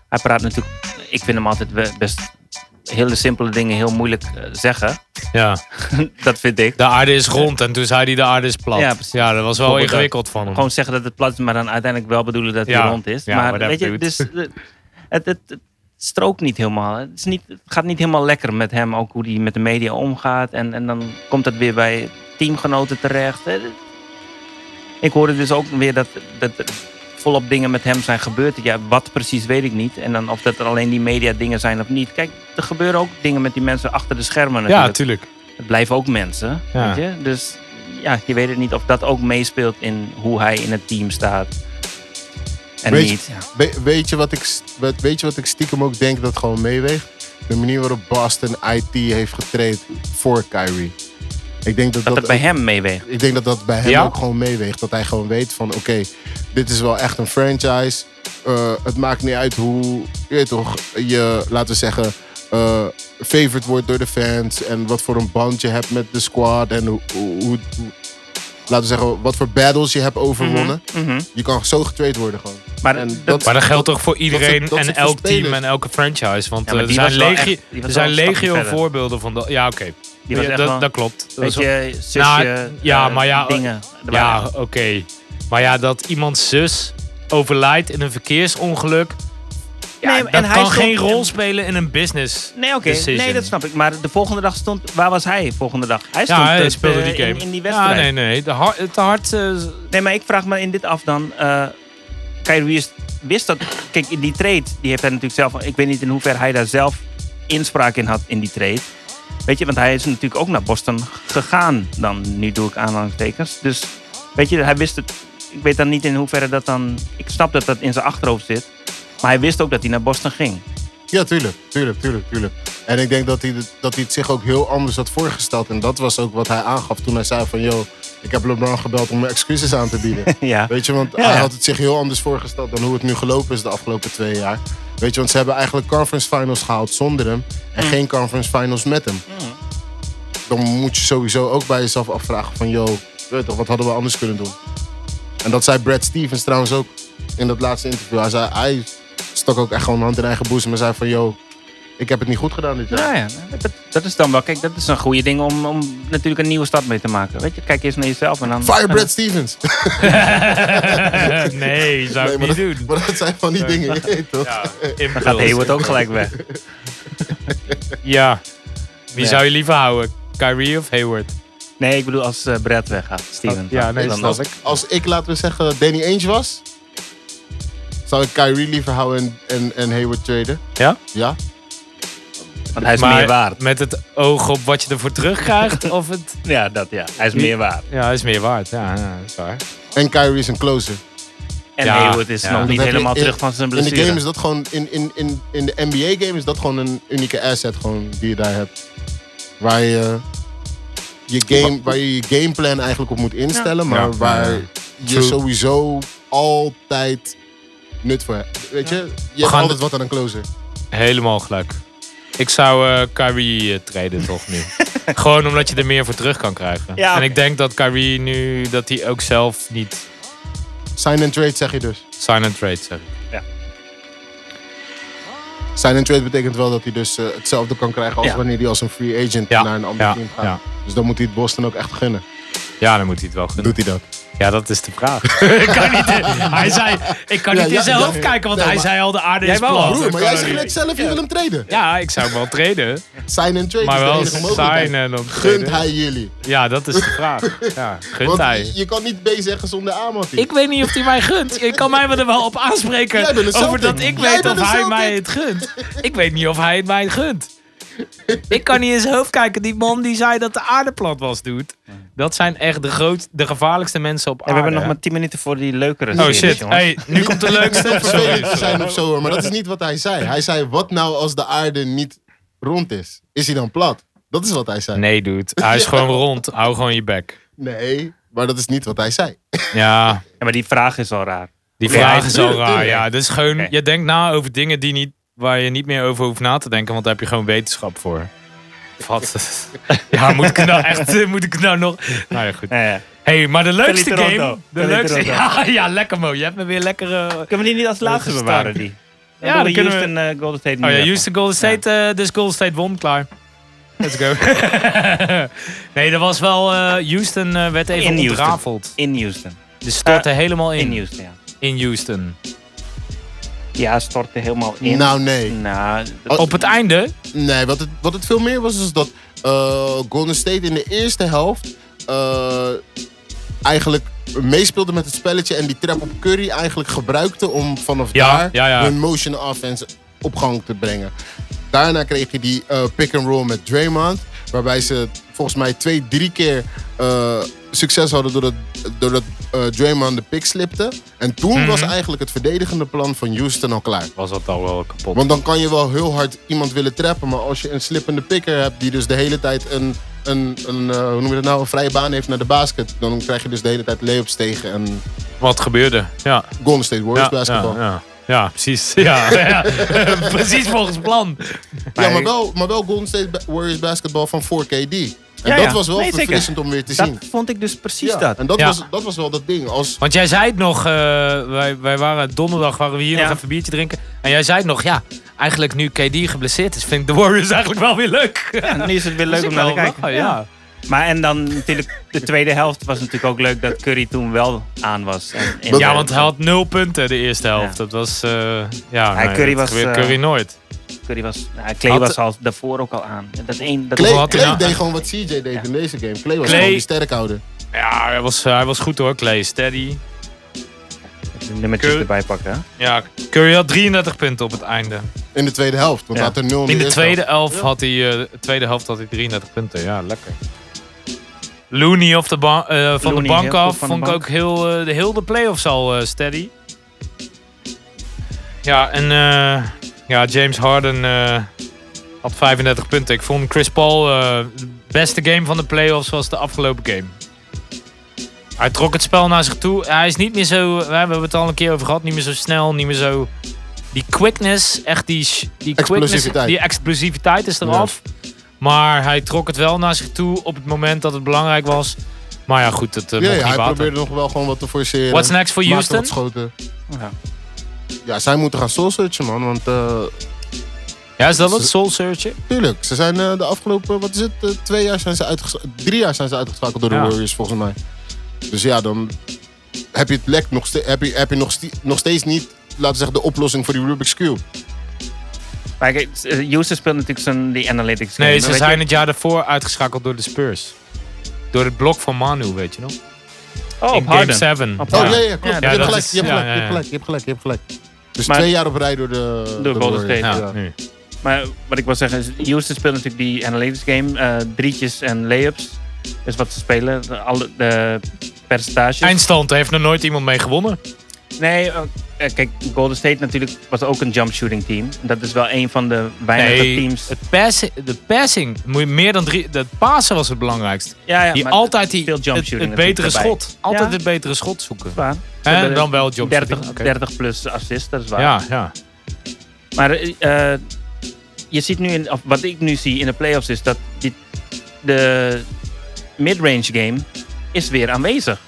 S7: Hij praat natuurlijk. Ik vind hem altijd we- best hele simpele dingen heel moeilijk eh, zeggen.
S6: Ja.
S7: dat vind ik.
S6: De aarde is rond en toen zei hij de aarde is plat.
S7: Ja,
S6: Ja,
S7: precies.
S6: dat was wel ingewikkeld van hem.
S7: Gewoon zeggen dat het plat is, maar dan uiteindelijk wel bedoelen dat het
S6: Ja,
S7: rond is.
S6: ja,
S7: maar
S6: whatever,
S7: weet je,
S6: dude.
S7: dus, eh, het, het, het strookt niet helemaal. Het, is niet, het gaat niet helemaal lekker met hem, ook hoe hij met de media omgaat. En, en dan komt dat weer bij teamgenoten terecht. Eh, Ik hoorde dus ook weer dat, dat er volop dingen met hem zijn gebeurd. Ja, wat precies weet ik niet. En dan of dat er alleen die media dingen zijn of niet. Kijk, er gebeuren ook dingen met die mensen achter de schermen
S6: Ja,
S7: natuurlijk.
S6: tuurlijk.
S7: Het blijven ook mensen,
S6: Ja.
S7: weet je? Dus ja, je weet het niet of dat ook meespeelt in hoe hij in het team staat. En
S2: Weet je-
S7: niet.
S2: We- weet, je wat ik, st- wat- weet je wat ik stiekem ook denk dat gewoon meeweegt? De manier waarop Boston IT heeft getraind voor Kyrie. Ik denk dat
S7: Dat
S2: dat,
S7: het bij hem meeweegt.
S2: ik denk dat, dat bij hem
S6: Ja.
S2: ook gewoon meeweegt. Dat hij gewoon weet van oké, dit is wel echt een franchise. Eh, het maakt niet uit hoe je, weet toch, je laten we zeggen, eh favored wordt door de fans. En wat voor een band je hebt met de squad. En hoe, hoe, hoe- laten we zeggen, wat voor battles je hebt overwonnen.
S7: Mhm.
S2: Je kan zo getraind worden gewoon.
S7: Maar
S2: En
S7: dat-
S2: dat-
S6: Maar dat geldt toch voor
S2: dat
S6: iedereen
S2: zit- dat
S6: en
S2: zit voor
S6: elk team
S2: spelers.
S6: en elke franchise. Want
S7: Ja, maar
S6: eh, er
S7: die
S6: zijn,
S7: was wel
S6: legio-
S7: echt- die was
S6: er zijn
S7: wel een stapje
S6: legio
S7: verder.
S6: voorbeelden van dat. Ja, oké.
S7: die was
S6: Ja,
S7: echt
S6: dat,
S7: wel,
S6: dat klopt. Dat
S7: weet
S6: was wel-
S7: je, zusje,
S6: Nou, ja,
S7: eh,
S6: maar ja,
S7: dingen. Er
S6: ja,
S7: waren-
S6: oké. Maar ja, dat iemands zus overlijdt in een verkeersongeluk. Ja,
S7: Nee,
S6: dat
S7: en hij
S6: kan
S7: stond-
S6: geen rol spelen in een business.
S7: Nee, oké.
S6: Decision.
S7: Nee, dat snap ik. Maar de volgende dag stond... Waar was hij volgende dag? Hij stond
S6: Ja, hij
S7: eh,
S6: speelde die
S7: in-
S6: game.
S7: In, die wedstrijd.
S6: Ja, nee,
S7: nee.
S6: nee. De har- het hart... eh, z-
S7: maar ik vraag me in dit af dan... eh Kyrie is- wist dat... Kijk, in die trade, die heeft hij natuurlijk zelf... Ik weet niet in hoeverre hij daar zelf inspraak in had in die trade. Weet je, want hij is natuurlijk ook naar Boston gegaan dan. Nu doe ik aanhalingstekens. Dus weet je, hij wist het... Ik weet dan niet in hoeverre dat dan... Ik snap dat dat in zijn achterhoofd zit. Maar hij wist ook dat hij naar Boston ging.
S2: Ja, tuurlijk, tuurlijk, tuurlijk, tuurlijk. En ik denk dat hij, het- dat hij het zich ook heel anders had voorgesteld. En dat was ook wat hij aangaf toen hij zei van... yo, ik heb LeBron gebeld om me excuses aan te bieden.
S7: Ja.
S2: Weet je, want
S7: Ja.
S2: hij had het zich heel anders voorgesteld... dan hoe het nu gelopen is de afgelopen twee jaar. Weet je, want ze
S7: Mm.
S2: hebben eigenlijk conference finals gehaald zonder hem... en geen conference finals met hem. dan moet je sowieso ook bij jezelf afvragen van... Yo, weet je toch, wat hadden we anders kunnen doen? En dat zei Brad Stevens trouwens ook in dat laatste interview. Hij, zei, hij stak ook echt gewoon de hand in eigen boezem en zei van... Yo, ik heb het niet goed gedaan dit jaar.
S7: Nou ja, dat, dat is dan wel. Kijk, dat is een goede ding om, om natuurlijk een nieuwe stad mee te maken. Weet je, kijk eerst naar jezelf en dan.
S2: Fire Brad Stevens!
S6: nee, zou ik
S2: maar, dat,
S6: niet doen.
S2: maar dat zijn van die dingen, je weet toch?
S6: Ja,
S7: Dan gaat
S6: impuls.
S7: Hayward ook gelijk weg.
S6: Ja. Wie
S7: Ja.
S6: zou je liever houden? Kyrie of Hayward?
S7: Nee, ik bedoel als eh, Brad weggaat, Steven.
S6: Ja, nee,
S7: dan,
S2: Als ik, als ik, laten we zeggen, Danny Ainge was... zou ik Kyrie liever houden en, en, en Hayward traden.
S6: Ja?
S2: Ja?
S7: want hij is
S6: Maar
S7: meer waard.
S6: met het oog op wat je ervoor terugkrijgt? of het...
S7: Ja, dat ja. Hij is meer waard.
S6: Ja, is meer waard. Ja, ja, dat is waar.
S2: En Kyrie is een closer.
S7: En
S6: Ja,
S7: Hayward is
S6: ja.
S7: nog
S6: Dat
S7: niet
S2: heb je
S7: helemaal
S2: in-
S7: terug van zijn
S2: In de game
S7: blessure.
S2: is dat gewoon, in, in, in, in de NBA game is dat gewoon een unieke asset gewoon die je daar hebt. Waar je je, game, waar je, je gameplan eigenlijk op moet instellen, maar
S6: Ja.
S2: waar
S6: Ja.
S2: je sowieso altijd nut voor hebt. Weet je, je hebt
S6: gaan-
S2: altijd wat aan een closer.
S6: Helemaal gelijk. Ik zou eh Kyrie eh, treden toch nu. Gewoon omdat je er meer voor terug kan krijgen.
S7: Ja,
S6: En
S7: oké.
S6: ik denk dat Kyrie nu, dat hij ook zelf niet
S2: Sign and trade zeg je dus.
S6: sign and trade zegt.
S2: Sign and trade betekent wel dat hij dus eh, hetzelfde kan krijgen als
S7: Ja.
S2: wanneer hij als een free agent
S6: Ja.
S2: naar een ander
S6: Ja.
S2: team gaat.
S6: Ja.
S2: Dus dan moet hij het Boston ook echt gunnen.
S6: Ja, dan moet hij het wel gunnen.
S2: Doet hij dat?
S6: Ja, dat is de vraag. ik kan niet, hij zei, ik kan
S2: Ja,
S6: niet in
S2: ja,
S6: zijn
S2: ja,
S6: hoofd
S2: ja.
S6: kijken, want
S2: Nee,
S6: hij
S2: maar-
S6: zei al de aarde
S7: Jij
S6: is
S7: wou al,
S6: plat.
S7: broer,
S2: Broer,
S6: Dat
S2: maar
S6: kan
S2: jij
S6: ook
S2: zegt
S6: niet.
S2: net zelf, je wil hem traden.
S6: Ja, ik zou hem wel treden.
S2: Sign and trade
S6: Maar wel
S2: is de enige mogelijkheid.
S6: sign en dan
S2: Gunt
S6: treden.
S2: hij jullie?
S6: Ja, dat is de vraag. Ja, gunt
S2: Want
S6: hij.
S2: je kan niet B zeggen zonder A, Mattie.
S6: Ik weet niet of hij mij gunt. Je kan mij er wel
S2: Jij
S6: op
S2: bent een
S6: aanspreken. Over
S2: Celtic.
S6: dat ik
S2: Jij
S6: weet
S2: bent
S6: of
S2: een
S6: hij
S2: Celtic.
S6: mij het gunt. Ik weet niet of hij het mij gunt. Ik kan niet in zijn hoofd kijken. Die man die zei dat de aarde plat was, doet. Dat zijn echt de, groot, de gevaarlijkste mensen op
S7: En
S6: aarde.
S7: we hebben nog maar 10 minuten voor die leukere
S6: Oh
S7: series,
S6: shit.
S7: jongens.
S6: Hey, nu komt de leukste.
S2: vervelend te zijn of zo, hoor, maar dat is niet wat hij zei. Hij zei, wat nou als de aarde niet rond is? Is hij dan plat? Dat is wat hij zei.
S6: Nee, dude. Hij is gewoon rond. Hou gewoon je bek.
S2: Nee, maar dat is niet wat hij zei.
S6: Ja,
S7: Ja, maar die vraag is al raar.
S6: die
S7: Ja,
S6: vraag is al
S2: tuurlijk,
S6: raar.
S2: tuurlijk.
S6: Ja, dus gewoon,
S7: Oké.
S6: je denkt na over dingen die niet, waar je niet meer over hoeft na te denken, want daar heb je gewoon wetenschap voor. Wat? Ja, moet ik het nou echt, eh, moet ik het nou nog? Nou ja, goed.
S7: Ja, ja.
S6: hey, maar de leukste
S7: Toronto.
S6: game. De
S7: Philly
S6: leukste,
S7: Toronto.
S6: ja, ja, lekker Mo. Je hebt me weer lekker... eh,
S7: Kunnen we die niet als laatste
S6: Leukste
S7: bewaren?
S6: stand.
S7: Die?
S6: Ja, dan
S7: we
S6: kunnen we-
S7: Houston eh, Golden State
S6: Oh
S7: niet
S6: ja,
S7: hebben.
S6: Houston Golden State, eh, dus Golden State won, klaar. Let's go. nee, dat was wel... eh, Houston eh, werd even
S7: In Houston.
S6: ontrafeld.
S7: In Houston.
S6: Dus stortte helemaal
S7: In
S6: in.
S7: Houston, ja.
S6: in Houston.
S7: Ja, stortte helemaal in.
S2: Nou, nee.
S7: Nou,
S2: Oh,
S6: Op het einde
S2: Nee, wat het, wat het veel meer was, is dat eh, Golden State in de eerste helft eh, eigenlijk meespeelde met het spelletje en die trap op Curry eigenlijk gebruikte om vanaf
S6: Ja,
S2: daar
S6: ja, ja.
S2: hun motion offense op gang te brengen. Daarna kreeg je die eh, pick and roll met Draymond, waarbij ze volgens mij twee, drie keer eh, succes hadden doordat, doordat eh, Draymond de pick slipte. En toen was
S6: Mhm.
S2: eigenlijk het verdedigende plan van Houston al klaar.
S6: was dat al wel kapot.
S2: Want dan kan je wel heel hard iemand willen trappen. Maar als je een slippende picker hebt die dus de hele tijd een, een, een, eh, hoe noem je dat nou, een vrije baan heeft naar de basket. Dan krijg je dus de hele tijd layups tegen en
S6: Wat gebeurde? Ja,
S2: Golden State Warriors
S6: ja,
S2: basketbal.
S6: ja,
S2: Ja,
S6: ja. Ja, precies. Ja, ja. precies volgens plan.
S2: maar, wel, maar wel Golden State ba- Warriors basketbal van 4KD. En
S7: Ja,
S2: dat
S7: ja.
S2: was wel
S7: Nee, zeker.
S2: verfrissend om weer te zien.
S7: dat vond ik dus precies
S2: Ja,
S7: dat.
S2: En dat,
S6: Ja.
S2: was, dat was wel dat ding. Als,
S6: Want jij zei het nog, eh, wij, wij waren donderdag waren we hier
S7: Ja.
S6: nog even een biertje drinken. En jij zei het nog, ja, eigenlijk nu KD geblesseerd is, vind ik de Warriors eigenlijk wel weer leuk.
S7: En nu is het weer
S6: Dus
S7: leuk
S6: ik
S7: om naar te
S6: wel-
S7: kijken.
S6: wel, ja.
S7: Maar en dan natuurlijk de tweede helft was natuurlijk ook leuk dat Curry toen wel aan was. En, en-
S6: Ja, want hij had nul punten de eerste helft.
S7: Ja.
S6: Dat was, eh, ja,
S7: Hij,
S6: nee,
S7: Curry
S6: dat
S7: was,
S6: gebeurt
S7: eh,
S6: Curry nooit.
S7: Curry was, nou, Clay
S6: Had-
S7: was al daarvoor ook al aan. Dat één, dat
S2: Clay,
S6: had hij
S2: Clay
S6: nou-
S2: deed gewoon wat CJ deed in deze game. Clay was
S6: Clay-
S2: gewoon die sterkhouder.
S6: Ja, hij was, hij was goed hoor, Clay. Steady.
S7: de nummertjes
S6: Curry-
S7: erbij pakken. hè?
S6: Ja, Curry had 33 punten op het einde.
S2: In de tweede helft. Want
S7: Ja.
S2: hij had er 0
S6: In de
S2: eerste
S6: tweede, elf had hij, eh, tweede helft had hij 33 punten. Ja, lekker. Looney op de ba- eh, van
S7: Looney,
S6: de bank
S7: heel goed
S6: af
S7: van de
S6: vond ik
S7: bank.
S6: ook heel, eh, de, heel de playoffs al eh, steady. Ja, en eh, ja, James Harden eh, had 35 punten. Ik vond Chris Paul eh, de beste game van de playoffs was de afgelopen game. Hij trok het spel naar zich toe. Hij is niet meer zo, eh, we hebben het al een keer over gehad, niet meer zo snel, niet meer zo... Die quickness, echt die, sh- die, quickness,
S2: Explosiviteit.
S6: die explosiviteit is eraf. Maar hij trok het wel naar zich toe op het moment dat het belangrijk was. Maar ja, goed, dat eh,
S2: Ja,
S6: mocht
S2: ja,
S6: niet
S2: hij
S6: baten.
S2: probeerde nog wel gewoon wat te forceren.
S6: What's next for
S2: Maakte
S6: Houston?
S2: wat schoten.
S7: Ja.
S2: Ja, zij moeten gaan soulsearchen, man. Want eh,
S6: Ja, is dat het? Soul Searcher?
S2: tuurlijk, ze zijn eh, de afgelopen, wat is het, eh, twee jaar zijn ze uitgeschakeld. Drie jaar zijn ze uitgeschakeld door de
S6: Ja.
S2: Warriors, volgens mij. Dus ja, dan heb je het lek nog, ste- heb je, heb je nog, ste- nog steeds niet, laten we zeggen, de oplossing voor die Rubik's Cube.
S7: Maar kijk, eh, Houston speelt natuurlijk zijn, die analytics game,
S6: Nee,
S7: hè,
S6: ze
S7: weet je?
S6: zijn het jaar daarvoor uitgeschakeld door de Spurs. Door het blok van Manu, weet je nog?
S7: Oh,
S6: In
S7: op
S6: Game
S7: Harden.
S6: 7.
S7: Op
S2: Oh,
S7: Ja.
S2: ja, ja, klopt.
S7: Ja,
S2: je,
S7: dat
S2: hebt gelijk,
S6: is-
S2: je hebt
S6: ja,
S2: gelijk, je
S6: ja,
S2: hebt
S6: ja.
S2: gelijk, je hebt gelijk, je hebt gelijk. Dus
S7: Maar-
S2: twee jaar op rij door de
S7: Golden
S2: Warriors,
S7: State,
S6: Ja,
S2: ja.
S6: nu.
S7: Maar wat ik wil zeggen is, Houston speelt natuurlijk die analytics game. eh, drietjes en layups is wat ze spelen. De, alle, de percentages.
S6: Eindstand, daar heeft nog nooit iemand mee gewonnen.
S7: Nee, eh, eh, kijk, Golden State natuurlijk was ook een jump shooting team. Dat is wel een van de weinige teams.
S6: het passen, de passing, moet je meer dan drie, dat pasen was het belangrijkst.
S7: ja, ja,
S6: Die
S7: maar
S6: altijd die,
S7: veel
S6: het,
S7: jump shooting
S6: het betere
S7: natuurlijk erbij.
S6: schot, altijd
S7: Ja.
S6: het betere schot zoeken.
S7: Waar. Ze
S6: En
S7: hebben
S6: dan wel jump
S7: 30,
S6: shooting, oké.
S7: 30 plus assist, dat is waar.
S6: Ja, ja.
S7: Maar eh, eh, je ziet nu, in, of wat ik nu zie in de playoffs, is dat dit, de midrange game is weer aanwezig.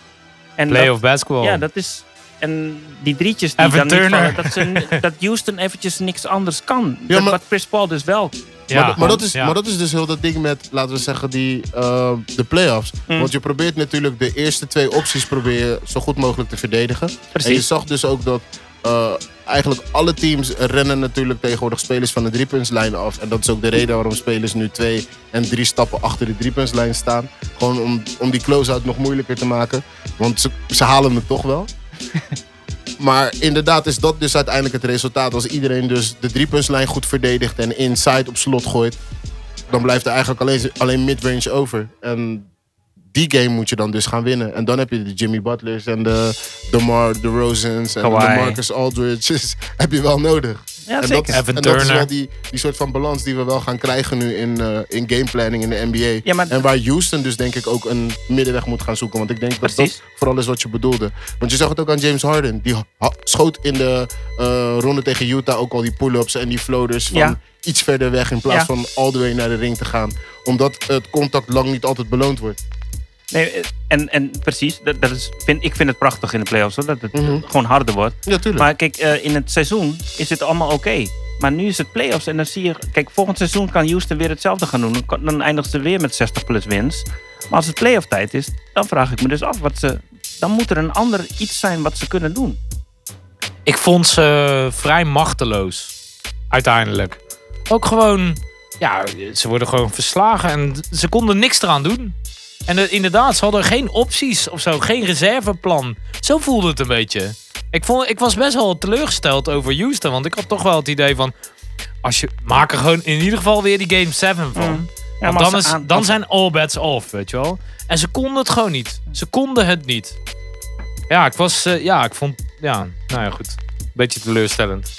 S7: En dat-
S6: Playoff basketball.
S7: Ja, dat is. En die drietjes die
S6: Evan
S7: dan niet
S6: Turner.
S7: vallen, dat, ze, dat Houston eventjes niks anders kan.
S2: Ja,
S7: Dat
S2: maar-
S7: wat Chris Paul dus wel.
S6: Ja,
S2: maar, maar, dat is,
S6: ja.
S2: maar dat is dus heel dat ding met, laten we zeggen, die, eh, de play-offs.
S7: Mm.
S2: Want je probeert natuurlijk de eerste twee opties probeer je zo goed mogelijk te verdedigen.
S7: Precies.
S2: En je zag dus ook dat eh, eigenlijk alle teams rennen natuurlijk tegenwoordig spelers van de driepuntslijn af. En dat is ook de reden waarom spelers nu twee en drie stappen achter de driepuntslijn staan. Gewoon om, om die close-out nog moeilijker te maken. Want ze, ze halen het toch wel. Maar inderdaad is dat dus uiteindelijk het resultaat. Als iedereen dus de driepuntslijn goed verdedigt en inside op slot gooit, dan blijft er eigenlijk alleen, alleen midrange over. En die game moet je dan dus gaan winnen. En dan heb je de Jimmy Butlers en de DeMar DeRozans en
S7: Kawhi.
S2: de Marcus Aldridge's. heb je wel nodig.
S7: Ja,
S2: en dat,
S7: zeker.
S2: is,
S6: Evan
S2: en dat is
S6: Turner.
S2: wel die, die soort van balans die we wel gaan krijgen nu in, eh, in gameplanning in de NBA.
S7: Ja, maar-
S2: En waar Houston dus denk ik ook een middenweg moet gaan zoeken. Want ik denk dat
S7: Precies.
S2: dat vooral is wat je bedoelde. Want je zag het ook aan James Harden. Die ha- schoot in de eh, ronde tegen Utah ook al die pull-ups en die floaters van
S7: Ja.
S2: iets verder weg. In plaats
S7: Ja.
S2: van all the way naar de ring te gaan. Omdat het contact lang niet altijd beloond wordt.
S7: Nee, eh, en, en precies, dat, dat is, vind, ik vind het prachtig in de playoffs hoor, dat het
S2: Mhm.
S7: gewoon harder wordt.
S2: Ja, tuurlijk.
S7: Maar kijk, eh, in het seizoen is het allemaal oké. Maar nu is het playoffs en dan zie je, kijk, volgend seizoen kan Houston weer hetzelfde gaan doen. Dan, kan- dan eindigt ze weer met 60 plus wins. Maar als het playoff tijd is, dan vraag ik me dus af wat ze. Dan moet er een ander iets zijn wat ze kunnen doen.
S6: Ik vond ze vrij machteloos. Uiteindelijk. Ook gewoon, ja, ze worden gewoon verslagen en ze konden niks eraan doen. En eh, inderdaad, ze hadden geen opties of zo, geen reserveplan. Zo voelde het een beetje. Ik, vond, ik was best wel teleurgesteld over Houston, want ik had toch wel het idee van. Als je, maak er gewoon in ieder geval weer die Game 7 van.
S7: Mm. Ja,
S6: Want
S7: maar als
S6: dan,
S7: ze
S6: is,
S7: aan-
S6: dan
S7: als-
S6: zijn all bets off, weet je wel. En ze konden het gewoon niet. Ze konden het niet. Ja, ik was... eh, ja, ik vond... Ja, nou ja, goed. Beetje teleurstellend.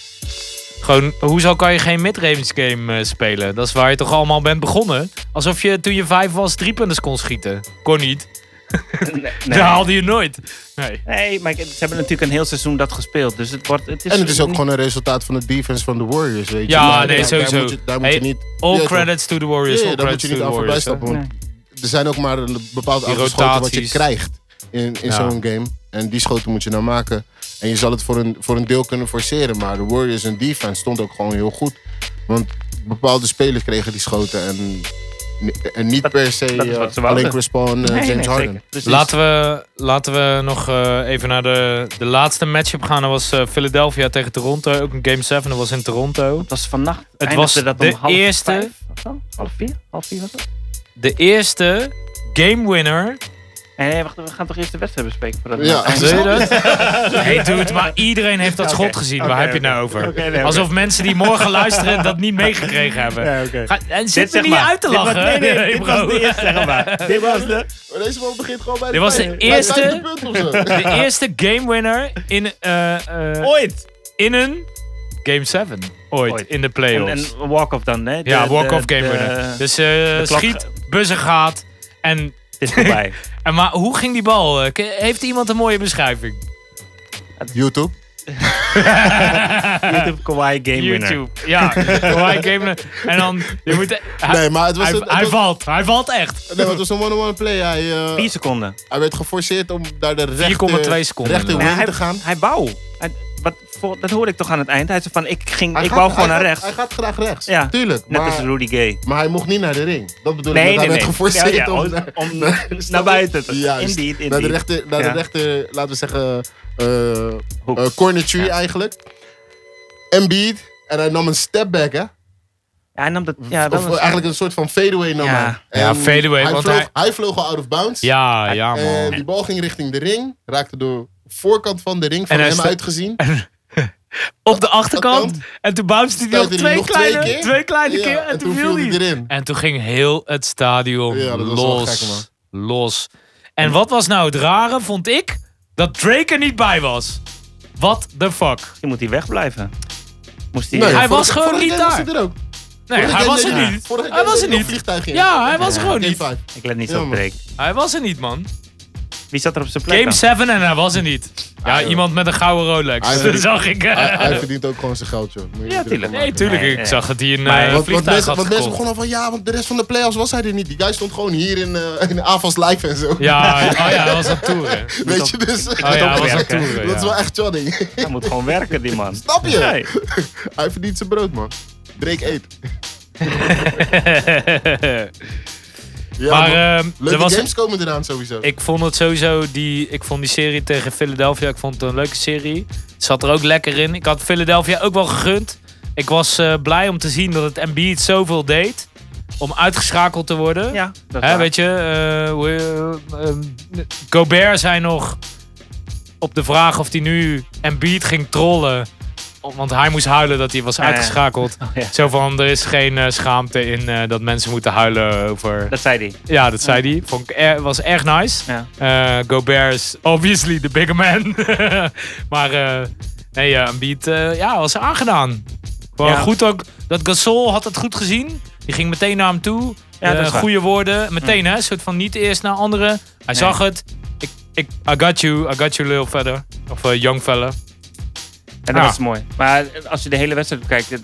S6: Gewoon, hoezo kan je geen midrange game eh, spelen? Dat is waar je toch allemaal bent begonnen? Alsof je toen je vijf was drie punten kon schieten. Kon niet.
S7: Nee,
S6: Dat haalde je nooit. Nee.
S7: Nee, maar ze hebben natuurlijk een heel seizoen dat gespeeld. Dus het, wordt, het is
S2: en het is ook gewoon een resultaat van de defense van de Warriors, weet je.
S6: Ja,
S2: Maar
S6: nee,
S2: daar-
S6: sowieso.
S2: Daar moet je, daar moet
S6: Hey,
S2: je niet...
S6: All
S2: Ja, toch?
S6: credits to the Warriors.
S2: Ja,
S6: all
S2: ja, daar moet
S6: credits
S2: je
S6: to
S2: niet
S6: the
S2: aan voorbij
S6: Warriors.
S2: stappen.
S6: hè.
S2: Want er zijn ook maar een bepaald
S6: Die
S2: aantal schoten wat je
S6: rotaties.
S2: krijgt in, in
S6: Ja.
S2: zo'n game. En die schoten moet je nou maken. En je zal het voor een, voor een deel kunnen forceren. Maar de Warriors en defense stond ook gewoon heel goed. Want bepaalde spelers kregen die schoten. En, en niet
S7: Dat-
S2: per se
S7: dat is wat
S2: eh,
S7: ze wouden.
S2: alleen Chris Paul en eh,
S7: Nee, nee,
S2: James
S7: zeker.
S2: Harden.
S7: Precies.
S6: Laten we, laten we nog eh, even naar de, de laatste matchup gaan. Dat was eh, Philadelphia tegen Toronto. Ook een Game 7, dat was in Toronto.
S7: Het was vannacht.
S6: Het was
S7: eindigde dat
S6: de
S7: om half
S6: eerste-
S7: vijf of zo? half vier? Half vier was het?
S6: De eerste game winner.
S7: Nee, nee, Eh, wacht, we gaan toch eerst de wedstrijd bespreken? Voordat we
S2: Ja.
S7: aan het eind
S6: Zie je
S7: komen?
S6: dat? Nee, dude, maar iedereen heeft dat schot gezien. Waar heb je het nou over? Alsof mensen die morgen luisteren dat niet meegekregen hebben. Ga- en zit me
S7: zeg
S6: niet
S7: maar.
S6: uit te
S7: Dit was-
S6: lachen.
S7: nee, nee,
S6: Nee,
S7: dit
S6: bro.
S7: was de eerste, zeg maar. Dit was de...
S2: Maar deze man begint gewoon bij
S6: Dit was de
S2: vijf-
S6: eerste-
S2: bij het vijfde punt of zo.
S6: De eerste game winner in, eh, eh,
S7: Ooit!
S6: in een Game 7. Ooit,
S7: Ooit.
S6: in de
S7: En,
S6: playoffs.
S7: en walk-off dan, hè? De-
S6: ja, walk-off
S7: de-
S6: game
S7: de-
S6: winner. Dus eh
S7: klok-
S6: schiet, buzzer gaat. En,
S7: Het is voorbij.
S6: en maar hoe ging die bal? Eh, ke- Heeft iemand een mooie beschrijving?
S2: YouTube.
S7: YouTube Kawhi Game Winner.
S6: YouTube. Ja, Kawhi Gamer. En dan, je moet... Hij,
S2: Nee, maar het was
S6: hij,
S2: een- het
S6: hij
S2: was-
S6: valt. Hij valt echt.
S2: Nee, want het was een one-on-one play. Hij, eh,
S7: 4 seconden.
S2: hij werd geforceerd om naar de rechter,
S6: 4,2 seconden.
S2: rechter
S7: Nee,
S2: wing
S7: hij,
S2: te gaan.
S7: hij wou. Hij- wat, voor- dat hoorde ik toch aan het eind. Hij zei van, ik, ging,
S2: Hij
S7: ik
S2: gaat-
S7: wou gewoon
S2: hij
S7: naar
S2: gaat-
S7: rechts.
S2: Hij gaat graag rechts.
S7: ja,
S2: Tuurlijk.
S7: Net
S2: maar,
S7: als Rudy Gay.
S2: maar hij mocht niet naar de ring. Dat bedoel
S7: Nee,
S2: ik.
S7: nee,
S2: dat hij
S7: nee.
S2: werd geforceerd
S7: Ja, ja,
S2: om,
S7: om- om naar buiten te-
S2: Juist.
S7: Indeed,
S2: Naar de
S7: indeed.
S2: rechter, naar
S7: Ja.
S2: de rechter laten we zeggen, eh
S7: Hoek.
S2: eh, corner tree eigenlijk. Embiid. En hij nam een step back, hè?
S7: Ja, hij nam dat... Ja, dat
S2: of
S7: was-
S2: eigenlijk een soort van fadeaway nam
S7: Ja.
S2: hij.
S6: Ja,
S2: En
S6: fadeaway,
S2: Hij
S6: want
S2: vloog,
S6: hij-
S2: hij vloog al out of bounds.
S6: Ja,
S2: Eh,
S6: ja
S2: En
S6: man.
S2: die bal ging richting de ring. Raakte de voorkant van de ring van
S6: En hij
S2: hem
S6: sta-
S2: uitgezien.
S6: Op de achterkant.
S2: Achterkant.
S6: En toen bounced hij nog
S2: Stuitte hij
S6: twee
S2: nog
S6: kleine,
S2: twee keer.
S6: twee kleine
S2: Ja,
S6: keer.
S2: en
S6: En toen
S2: toen
S6: viel
S2: viel hij
S6: hij.
S2: erin.
S6: En toen ging heel het stadion
S2: Ja, dat was wel gek,
S6: los. Los. En wat was nou het rare, vond ik? Dat Drake er niet bij was. What the fuck?
S7: Misschien moet hij wegblijven. Moest hij...
S2: Nee,
S6: Hij
S2: vorige-
S6: was gewoon
S2: vorige
S6: niet
S2: game was
S6: daar.
S2: hij er ook.
S6: Nee,
S2: Vorige
S6: hij
S2: game
S6: was
S2: deed
S6: er niet.
S2: Vorige
S6: Hij
S2: game
S6: was
S2: deed
S6: er niet.
S2: nog vliegtuig in.
S6: Ja, hij was er gewoon
S2: Game
S6: niet.
S2: five.
S7: Ik let niet zo op
S2: Jammer.
S7: Drake.
S6: Hij was er niet, man.
S7: Wie zat er op zijn plek
S6: Game
S7: dan?
S6: 7 en hij was er niet. Ja,
S2: joh.
S6: iemand met een gouden Rolex.
S2: Hij
S6: Dat
S2: verdient-
S6: zag ik.
S2: Hij, hij verdient ook gewoon zijn geld, joh. Moet je
S7: Ja,
S2: niet druk om
S7: tuurlijk.
S2: maken.
S6: Nee, tuurlijk.
S7: Nee,
S6: Ik
S7: nee.
S6: zag dat hij een
S7: Maar
S6: eh,
S2: Want, want
S6: vliegtuig
S2: mensen,
S6: had
S2: want mensen
S6: gekocht.
S2: begonnen van ja, want de rest van de playoffs was hij er niet. Die guy stond gewoon hier in, eh in Avals Live en zo.
S6: Ja, oh ja, dat was dat toeren.
S2: Weet je, dus
S6: Oh ja, dat was dat
S7: opwerken.
S6: toeren.
S2: dat is
S6: ja.
S2: wel echt Johnny.
S7: Hij moet gewoon werken, die man.
S2: Snap je?
S7: Nee.
S2: Hij verdient zijn brood, man. Drake eet. Ja,
S6: maar
S2: man.
S6: ehm,
S2: leuke
S6: er was,
S2: games komen eraan sowieso.
S6: ik vond het sowieso die, ik vond die serie tegen Philadelphia. Ik vond het een leuke serie. Het zat er ook lekker in. Ik had Philadelphia ook wel gegund. Ik was eh, blij om te zien dat het Embiid zoveel deed om uitgeschakeld te worden.
S7: Ja, dat
S6: Hè,
S7: waar.
S6: weet je, eh, hoe- eh, ehm, Gobert zei nog op de vraag of hij nu Embiid ging trollen. Want hij moest huilen dat hij was
S7: Ja, ja.
S6: uitgeschakeld.
S7: ja.
S6: Zo van, er is geen eh, schaamte in eh, dat mensen moeten huilen over...
S7: Dat zei hij.
S6: Ja, dat zei hij. Vond ik er- was erg nice.
S7: Ja.
S6: Eh, Gobert is obviously the bigger man. maar eh, nee, ja, Embiid eh, ja, was aangedaan. Gewoon
S7: Ja.
S6: goed ook. Dat Gasol had het goed gezien. Die ging meteen naar hem toe.
S7: Ja,
S6: Eh,
S7: dat is waar. Mm.
S6: goede woorden. Meteen hè, een soort van niet eerst naar anderen. Hij zag het. Ik, ik, I got you, I got you little fella. Of eh, young fella.
S7: En dat
S6: Ja.
S7: was mooi. Maar als je de hele wedstrijd bekijkt, het-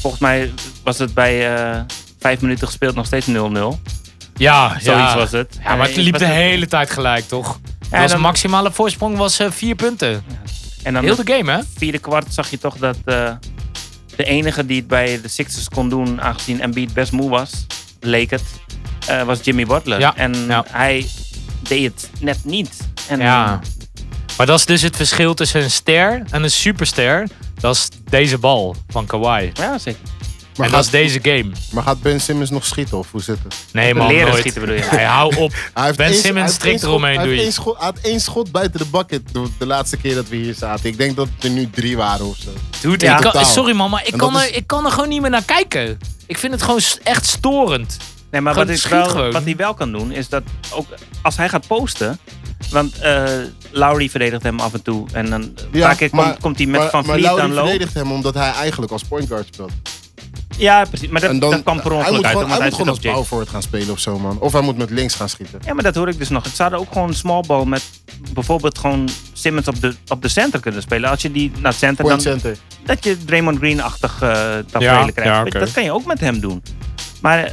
S7: volgens mij was het bij eh vijf minuten gespeeld nog steeds 0-0.
S6: Ja,
S7: Zoiets
S6: ja.
S7: was het.
S6: Ja, maar het
S7: En-
S6: liep de
S7: was-
S6: hele tijd gelijk, toch?
S7: Ja,
S6: was
S7: dan-
S6: maximale voorsprong was eh, vier punten.
S7: En dan
S6: Heel de game, hè?
S7: vierde kwart zag je toch dat eh, de enige die het bij de Sixers kon doen, aangezien Embiid best moe was, leek het, eh, was Jimmy Butler.
S6: Ja,
S7: En
S6: ja.
S7: hij deed het net niet. En,
S6: Ja. Maar dat is dus het verschil tussen een ster en een superster. Dat is deze bal van Kawhi.
S7: Ja, zeker.
S2: maar,
S6: en
S2: gaat,
S6: dat is deze game.
S2: maar gaat Ben Simmons nog schieten of hoe zit het?
S6: Nee, man,
S7: Leren
S6: nooit.
S7: schieten bedoel je?
S6: Hey, hou op.
S2: Hij heeft
S6: ben
S2: één- hij
S6: Simmons
S2: heeft één
S6: strikt
S2: schot-
S6: eromheen,
S2: hij
S6: doe
S2: heeft
S6: je.
S2: één schot- Hij had één schot buiten de bucket de, de laatste keer dat we hier zaten. Ik denk dat het er nu drie waren of zo.
S6: Dude,
S7: Ja.
S6: ik kan-
S2: Totaal.
S6: sorry man, maar ik
S2: En dat
S6: kan, er,
S2: is-
S6: ik kan er gewoon niet meer naar kijken. Ik vind het gewoon s- echt storend.
S7: Nee, maar
S6: Gewoon
S7: wat, ik
S6: schiet
S7: wel,
S6: gewoon.
S7: wat hij wel kan doen, is dat ook als hij gaat posten. Want eh Lowry verdedigt hem af en toe. En dan een paar keer komt, komt hij met
S2: maar-
S7: Van
S2: maar
S7: Vliet
S2: Lowry
S7: dan lopen.
S2: verdedigt hem omdat hij eigenlijk als point guard speelt.
S7: Ja, precies. Maar
S2: En
S7: dat,
S2: dan,
S7: dat kwam per
S2: hij
S7: ongeluk
S2: moet
S7: uit.
S2: gewoon,
S7: omdat
S2: hij
S7: hij
S2: moet
S7: zit
S2: gewoon
S7: op
S2: als power
S7: Jake.
S2: forward gaan spelen of zo, man. Of hij moet met links gaan schieten.
S7: Ja, maar dat hoor ik dus nog. Het zouden ook gewoon small ball met bijvoorbeeld gewoon Simmons op de, op de center kunnen spelen. Als je die naar center dan...
S2: Point center.
S7: Dat je Draymond Green-achtig eh tafereel
S6: Ja,
S7: krijgt.
S6: ja,
S7: Weet
S6: oké.
S7: je, Dat kan je ook met hem doen. Maar eh,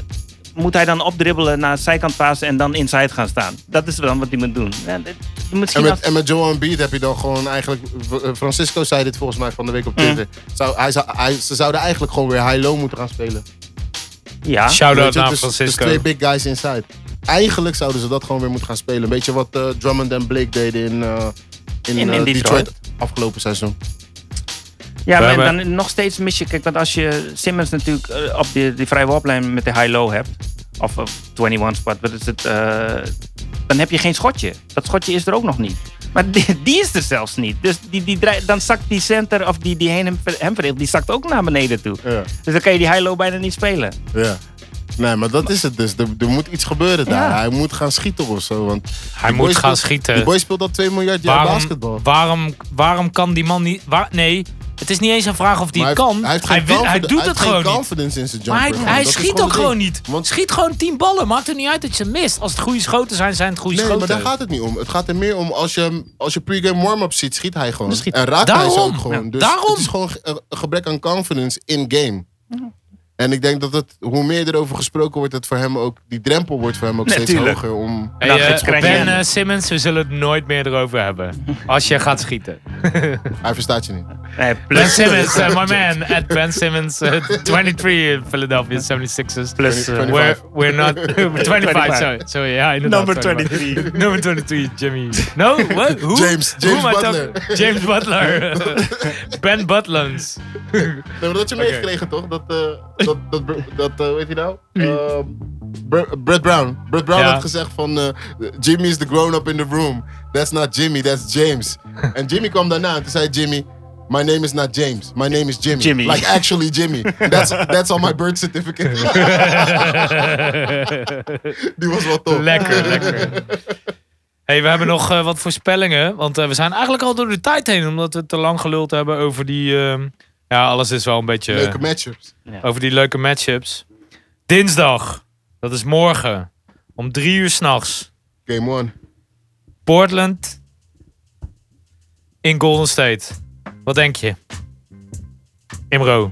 S7: moet hij dan opdribbelen naar de zijkant pasen en dan inside gaan staan? Dat is dan wat hij moet doen. Ja, dit-
S2: En
S7: misschien
S2: met,
S7: als-
S2: en met Joel Embiid heb je dan gewoon eigenlijk... eh, Francisco zei dit volgens mij van de week op Twitter.
S6: Mm.
S2: Zou, hij, zou, hij, ze zouden eigenlijk gewoon weer high-low moeten gaan spelen.
S7: Ja.
S6: Shout-out
S2: Weet je,
S6: naar
S2: dus, dus
S6: Oh, nou, Francisco.
S2: twee big guys inside. Eigenlijk zouden ze dat gewoon weer moeten gaan spelen. Een beetje wat eh, Drummond en Blake deden in, eh, in,
S7: in
S2: eh,
S7: Detroit.
S2: afgelopen seizoen.
S7: Ja,
S6: We
S7: maar
S6: hebben-
S7: dan nog steeds mis je... Kijk, want als je Simmons natuurlijk eh, op die, die vrije worplijn met de high-low hebt... Of eh, 21 spot, wat is het? eh, dan heb je geen schotje. Dat schotje is er ook nog niet. Maar die, die is er zelfs niet. Dus die, die, draai- dan zakt die center of die, die heen hem, ver- hem verdeelt... die zakt ook naar beneden toe.
S2: Ja.
S7: Dus dan kan je die high-low bijna niet spelen.
S2: Ja. Nee, maar dat is het dus. Er, er moet iets gebeuren daar.
S7: Ja.
S2: Hij moet gaan schieten of zo. Want
S6: Hij
S2: die
S6: moet
S2: boy
S6: gaan
S2: speelt-
S6: schieten.
S2: Die boy speelt al 2 miljard jaar
S6: waarom,
S2: basketbal.
S6: waarom, waarom kan die man niet... Waar, nee, Het is niet eens een vraag of die
S2: Maar
S6: het kan.
S2: Hij, heeft
S6: hij,
S2: geen
S6: wil- hij
S2: confide-
S6: doet
S2: hij
S6: het
S2: heeft geen
S6: gewoon niet.
S2: confidence in zijn jumper.
S6: Maar hij,
S2: gewoon.
S6: hij
S2: Dat is
S6: schiet ook
S2: het
S6: gewoon
S2: ding.
S6: niet.
S2: Want-
S6: schiet gewoon tien ballen. Maakt er niet uit dat je ze mist. Als het goede schoten zijn, zijn het goede
S2: Nee, maar
S6: schoten.
S2: daar gaat het niet om. Het gaat er meer om als je, hem- als je pre-game warm-up ziet, schiet hij gewoon.
S7: Dan schiet-
S2: En raakt hij ze
S6: Daarom.
S2: ook gewoon.
S6: Ja,
S2: dus
S6: daarom.
S2: het is gewoon ge- een gebrek aan confidence in-game. En ik denk dat het, hoe meer erover gesproken wordt, dat voor hem ook, die drempel wordt voor hem ook steeds
S7: Natuurlijk.
S2: hoger. Om,
S6: Hey,
S7: Nou,
S6: eh,
S7: dat krijg je
S6: ben
S7: hem.
S6: eh, Simmons, we zullen het nooit meer erover hebben. Als je gaat schieten.
S2: hij verstaat je niet.
S7: Nee,
S6: Ben
S7: plus,
S6: Simmons, eh, my man, at Ben Simmons, eh, 23 in Philadelphia 76ers.
S7: plus eh,
S2: 25.
S6: We're, we're not 25, sorry. sorry ja, inderdaad,
S7: number
S6: 25.
S7: 23.
S6: Nummer 23, Jimmy. No, what? Who?
S2: James-
S6: Who
S2: James
S6: am I
S2: Butler.
S6: talking- James Butler. ben Butlans.
S2: Nee, maar dat had je meegekregen toch? Dat, eh dat, dat, dat eh, weet je nou? Eh, Br- Brett Brown. Brett Brown
S6: Ja.
S2: had gezegd van eh, Jimmy is the grown-up in the room. That's not Jimmy, that's James. en Jimmy kwam daarna en toen zei Jimmy. My name is not James. My name is Jimmy.
S7: Jimmy.
S2: Like actually Jimmy. That's, that's on my birth certificate. Die was wel tof.
S6: lekker, lekker. hey, we hebben nog eh, wat voorspellingen. Want eh, we zijn eigenlijk al door de tijd heen. Omdat we te lang geluld hebben over die... eh, ja, alles is wel een beetje...
S2: Leuke matchups.
S6: Over die leuke matchups. Dinsdag. Dat is morgen. Om drie uur s'nachts.
S2: Game one.
S6: Portland. In Golden State. Wat denk je? Imro.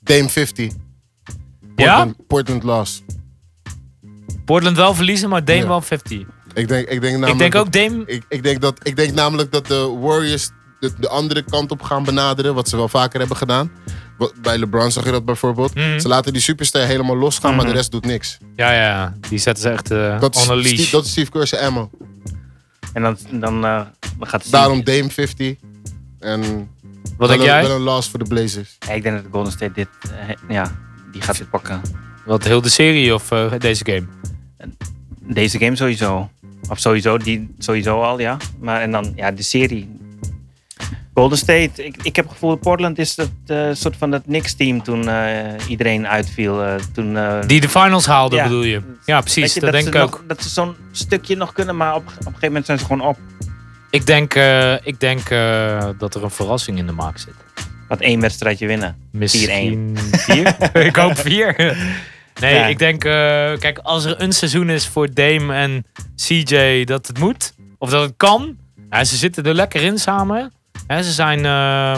S2: Dame 50.
S6: Ja?
S2: Portland, Portland lost.
S6: Portland wel verliezen, maar Dame
S2: Ja.
S6: wel 50.
S2: Ik denk, ik denk,
S6: Ik
S2: namelijk
S6: denk
S2: dat-
S6: ook Dame...
S2: Ik, ik, denk dat, ik denk namelijk dat de Warriors de, de andere kant op gaan benaderen. Wat ze wel vaker hebben gedaan. Wa- Bij LeBron zag je dat bijvoorbeeld.
S6: Mhm.
S2: Ze laten die superster helemaal losgaan, maar de rest doet niks.
S6: Ja, ja. Die zetten ze echt eh,
S2: Dat is,
S6: on a leash.
S2: Steve, dat is Steve Kerr's ammo.
S7: En dan, dan eh, dan gaat het
S2: Daarom Dame 50. En
S6: Wat
S2: wel,
S6: denk
S2: een-
S6: jij?
S2: wel een loss voor de Blazers.
S7: Ja, ik denk dat de Golden State dit, eh, ja, die gaat dit pakken.
S6: Wat, heel de serie of eh, deze game?
S7: Deze game sowieso. Of sowieso, die sowieso al, ja. Maar en dan, ja, de serie. Golden State, ik, ik heb het gevoel, Portland is dat eh, soort van dat Knicks-team toen eh, iedereen uitviel. eh, toen, eh,
S6: Die de finals haalden,
S7: Ja.
S6: bedoel je? Ja,
S7: weet
S6: precies.
S7: je,
S6: Dat, denk
S7: ze
S6: ik ook.
S7: nog- dat ze zo'n stukje nog kunnen, maar op, op een gegeven moment zijn ze gewoon op.
S6: Ik denk, eh, ik denk eh, dat er een verrassing in de maak zit.
S7: Wat één wedstrijdje winnen.
S6: Misschien vier. ik hoop vier. Nee,
S7: Ja.
S6: ik denk, eh, kijk, als er een seizoen is voor Dame en CJ dat het moet, of dat het kan. Ja, ze zitten er lekker in samen. Hè, ze zijn, eh,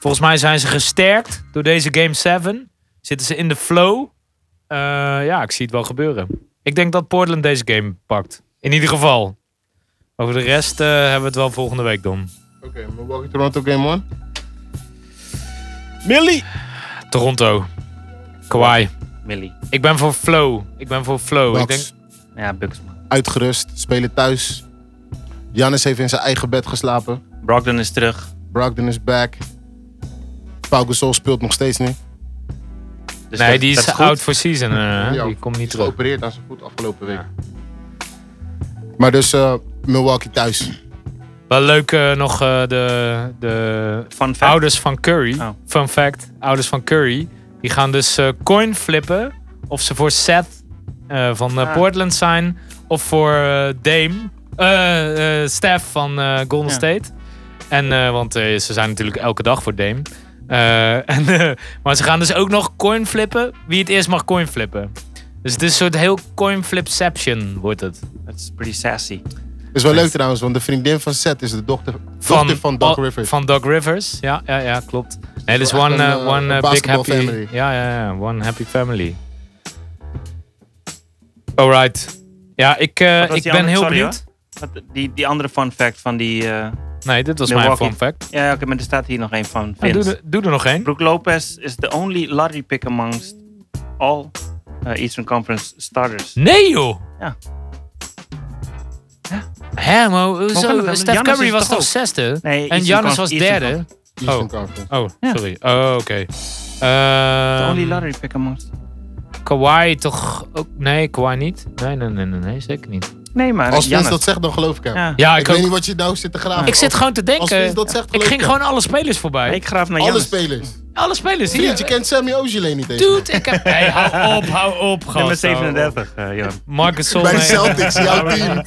S6: volgens mij zijn ze gesterkt door deze Game 7. Zitten ze in de flow. Eh, ja, ik zie het wel gebeuren. Ik denk dat Portland deze game pakt. In ieder geval. Over de rest eh, hebben we het wel volgende week, Don.
S2: Oké, Milwaukee Toronto Game one.
S6: Oh,
S7: Millie!
S6: Toronto. Kawhi.
S7: Millie.
S6: Ik ben voor flow. Ik ben voor flow. Ik denk,
S2: Bucks,
S7: Ja, Bucks man.
S2: Uitgerust, spelen thuis. Giannis heeft in zijn eigen bed geslapen.
S7: Brogdon is terug.
S2: Brogdon is back. Pau Gasol speelt nog steeds niet.
S7: Dus
S6: nee,
S7: dat-
S6: die
S7: dat
S6: is
S7: goed.
S6: out for season. eh,
S2: Ja,
S6: die komt niet
S2: is
S6: terug.
S2: geopereerd aan zijn voet afgelopen week. Maar dus eh, Milwaukee thuis.
S6: Wel leuk eh, nog eh, de, de
S7: Fun fact.
S6: ouders van Curry.
S7: Oh.
S6: Fun fact. Ouders van Curry. Die gaan dus eh, coin flippen. Of ze voor Seth eh, van eh,
S7: Ah.
S6: Portland zijn. Of voor eh, Dame. eh, eh, Steph van eh, Golden
S7: Ja.
S6: State. En, eh, want eh, ze zijn natuurlijk elke dag voor Dame. Eh, en, eh, maar ze gaan dus ook nog coin flippen. Wie het eerst mag coin flippen. Dus het is een soort heel coin flipception wordt het.
S7: Dat is pretty sassy.
S2: Is wel leuk trouwens, want de vriendin van Seth is de dochter van,
S6: van,
S2: dochter van Doc
S6: oh,
S2: Rivers.
S6: Van Doc Rivers, ja, ja, ja klopt. Nee, dus
S2: wel echt
S6: one,
S2: een,
S6: eh,
S2: eh,
S6: one
S2: een
S6: eh, big
S2: basketball
S6: happy.
S2: family.
S6: Ja, ja, ja, one happy family. Alright. Ja, ik, eh,
S7: Wat was
S6: ik
S7: die
S6: ben
S7: andere-
S6: heel
S7: sorry,
S6: benieuwd.
S7: Wat- Die, die andere fun fact van die... eh,
S6: Nee, dit was
S7: Milwaukee.
S6: mijn fun fact.
S7: Ja, oké, maar er staat hier nog één van
S6: Ja, doe,
S7: Vince.
S6: er- doe er nog één.
S7: Brook Lopez is the only lottery pick amongst all uh, Eastern Conference starters.
S6: Nee, joh!
S7: Ja.
S6: Hè, maar
S7: kan
S6: hoezo?
S7: dat dan?
S6: Steph
S7: Giannis
S6: Curry
S7: is
S6: was
S7: toch
S6: toch
S7: ook?
S6: zesde?
S7: Nee,
S6: en
S7: Eastern
S6: Jannis
S7: Conf-
S6: was
S7: Eastern
S6: derde?
S7: Conference.
S2: Eastern
S6: Oh.
S2: Conference.
S6: Oh,
S7: Ja.
S6: sorry. Oh, oké.
S7: The
S6: Ehm,
S7: only lottery pick amongst.
S6: Kawhi toch ook... Nee, Kawhi niet. Nee, nee, nee, nee, nee zeker niet.
S7: Nee, maar
S2: Als Vince
S7: Giannis.
S2: dat zegt, dan geloof ik hem.
S7: Ja.
S6: Ja, ik,
S2: ik
S6: ook.
S2: weet niet wat je nou zit te graven.
S6: Ik zit gewoon te
S2: Als
S6: denken.
S2: Vince dat zegt,
S6: Ik
S2: geloof
S6: ging
S2: hem.
S6: gewoon alle spelers voorbij.
S7: Ik graaf naar
S2: Alle
S7: Giannis.
S2: spelers.
S6: alle spelers. Hier.
S2: Vriend, je kent Sammy Ojeley niet eens.
S6: Dude, ik heb... Hey, hou op, hou op, gast.
S7: Nummer
S6: hou op.
S7: 37, eh Jan.
S6: Marcus Sol.
S2: Bij de
S6: nee.
S2: Celtics, jouw team.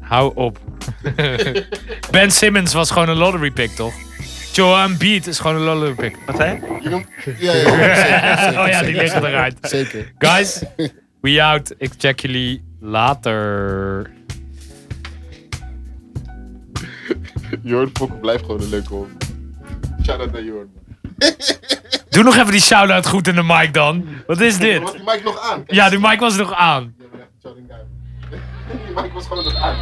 S6: Hou op. ben Simmons was gewoon een lottery pick, toch? Joel Embiid is gewoon een lolly pick.
S7: Wat zei je?
S2: Je noemt- Ja, ja, ja, zeker,
S6: Oh ja, die
S2: zeker,
S6: liggen
S2: zeker.
S6: eruit.
S2: Zeker.
S6: Guys, we out. Ik check jullie later.
S2: Jorn Fokker blijft gewoon een leuke hond. Shout-out naar Jorn.
S6: Doe nog even die shout-out goed in de mic dan. Wat is
S2: Wat
S6: dit?
S2: die mic nog aan? Kijk,
S6: Ja, die mic was nog aan.
S2: die hebben echt shouting down. Die mic was gewoon nog aan.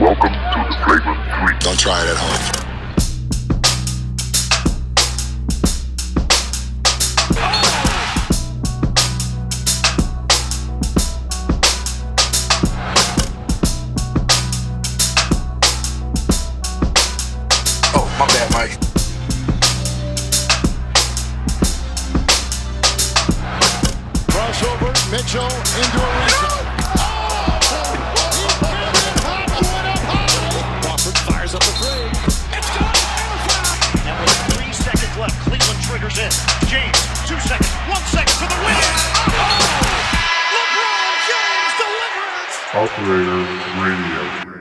S5: Welcome to the Flagrant 3.
S1: Don't try it at home. Oh, my bad, Mike.
S8: Crossover, Mitchell into a rebound.
S3: Crawford fires up the three. It's good. And a foul.
S4: And with three seconds left, Cleveland triggers in. James, two seconds, one second for the win. Oh! LeBron James delivers.
S5: Operator Radio.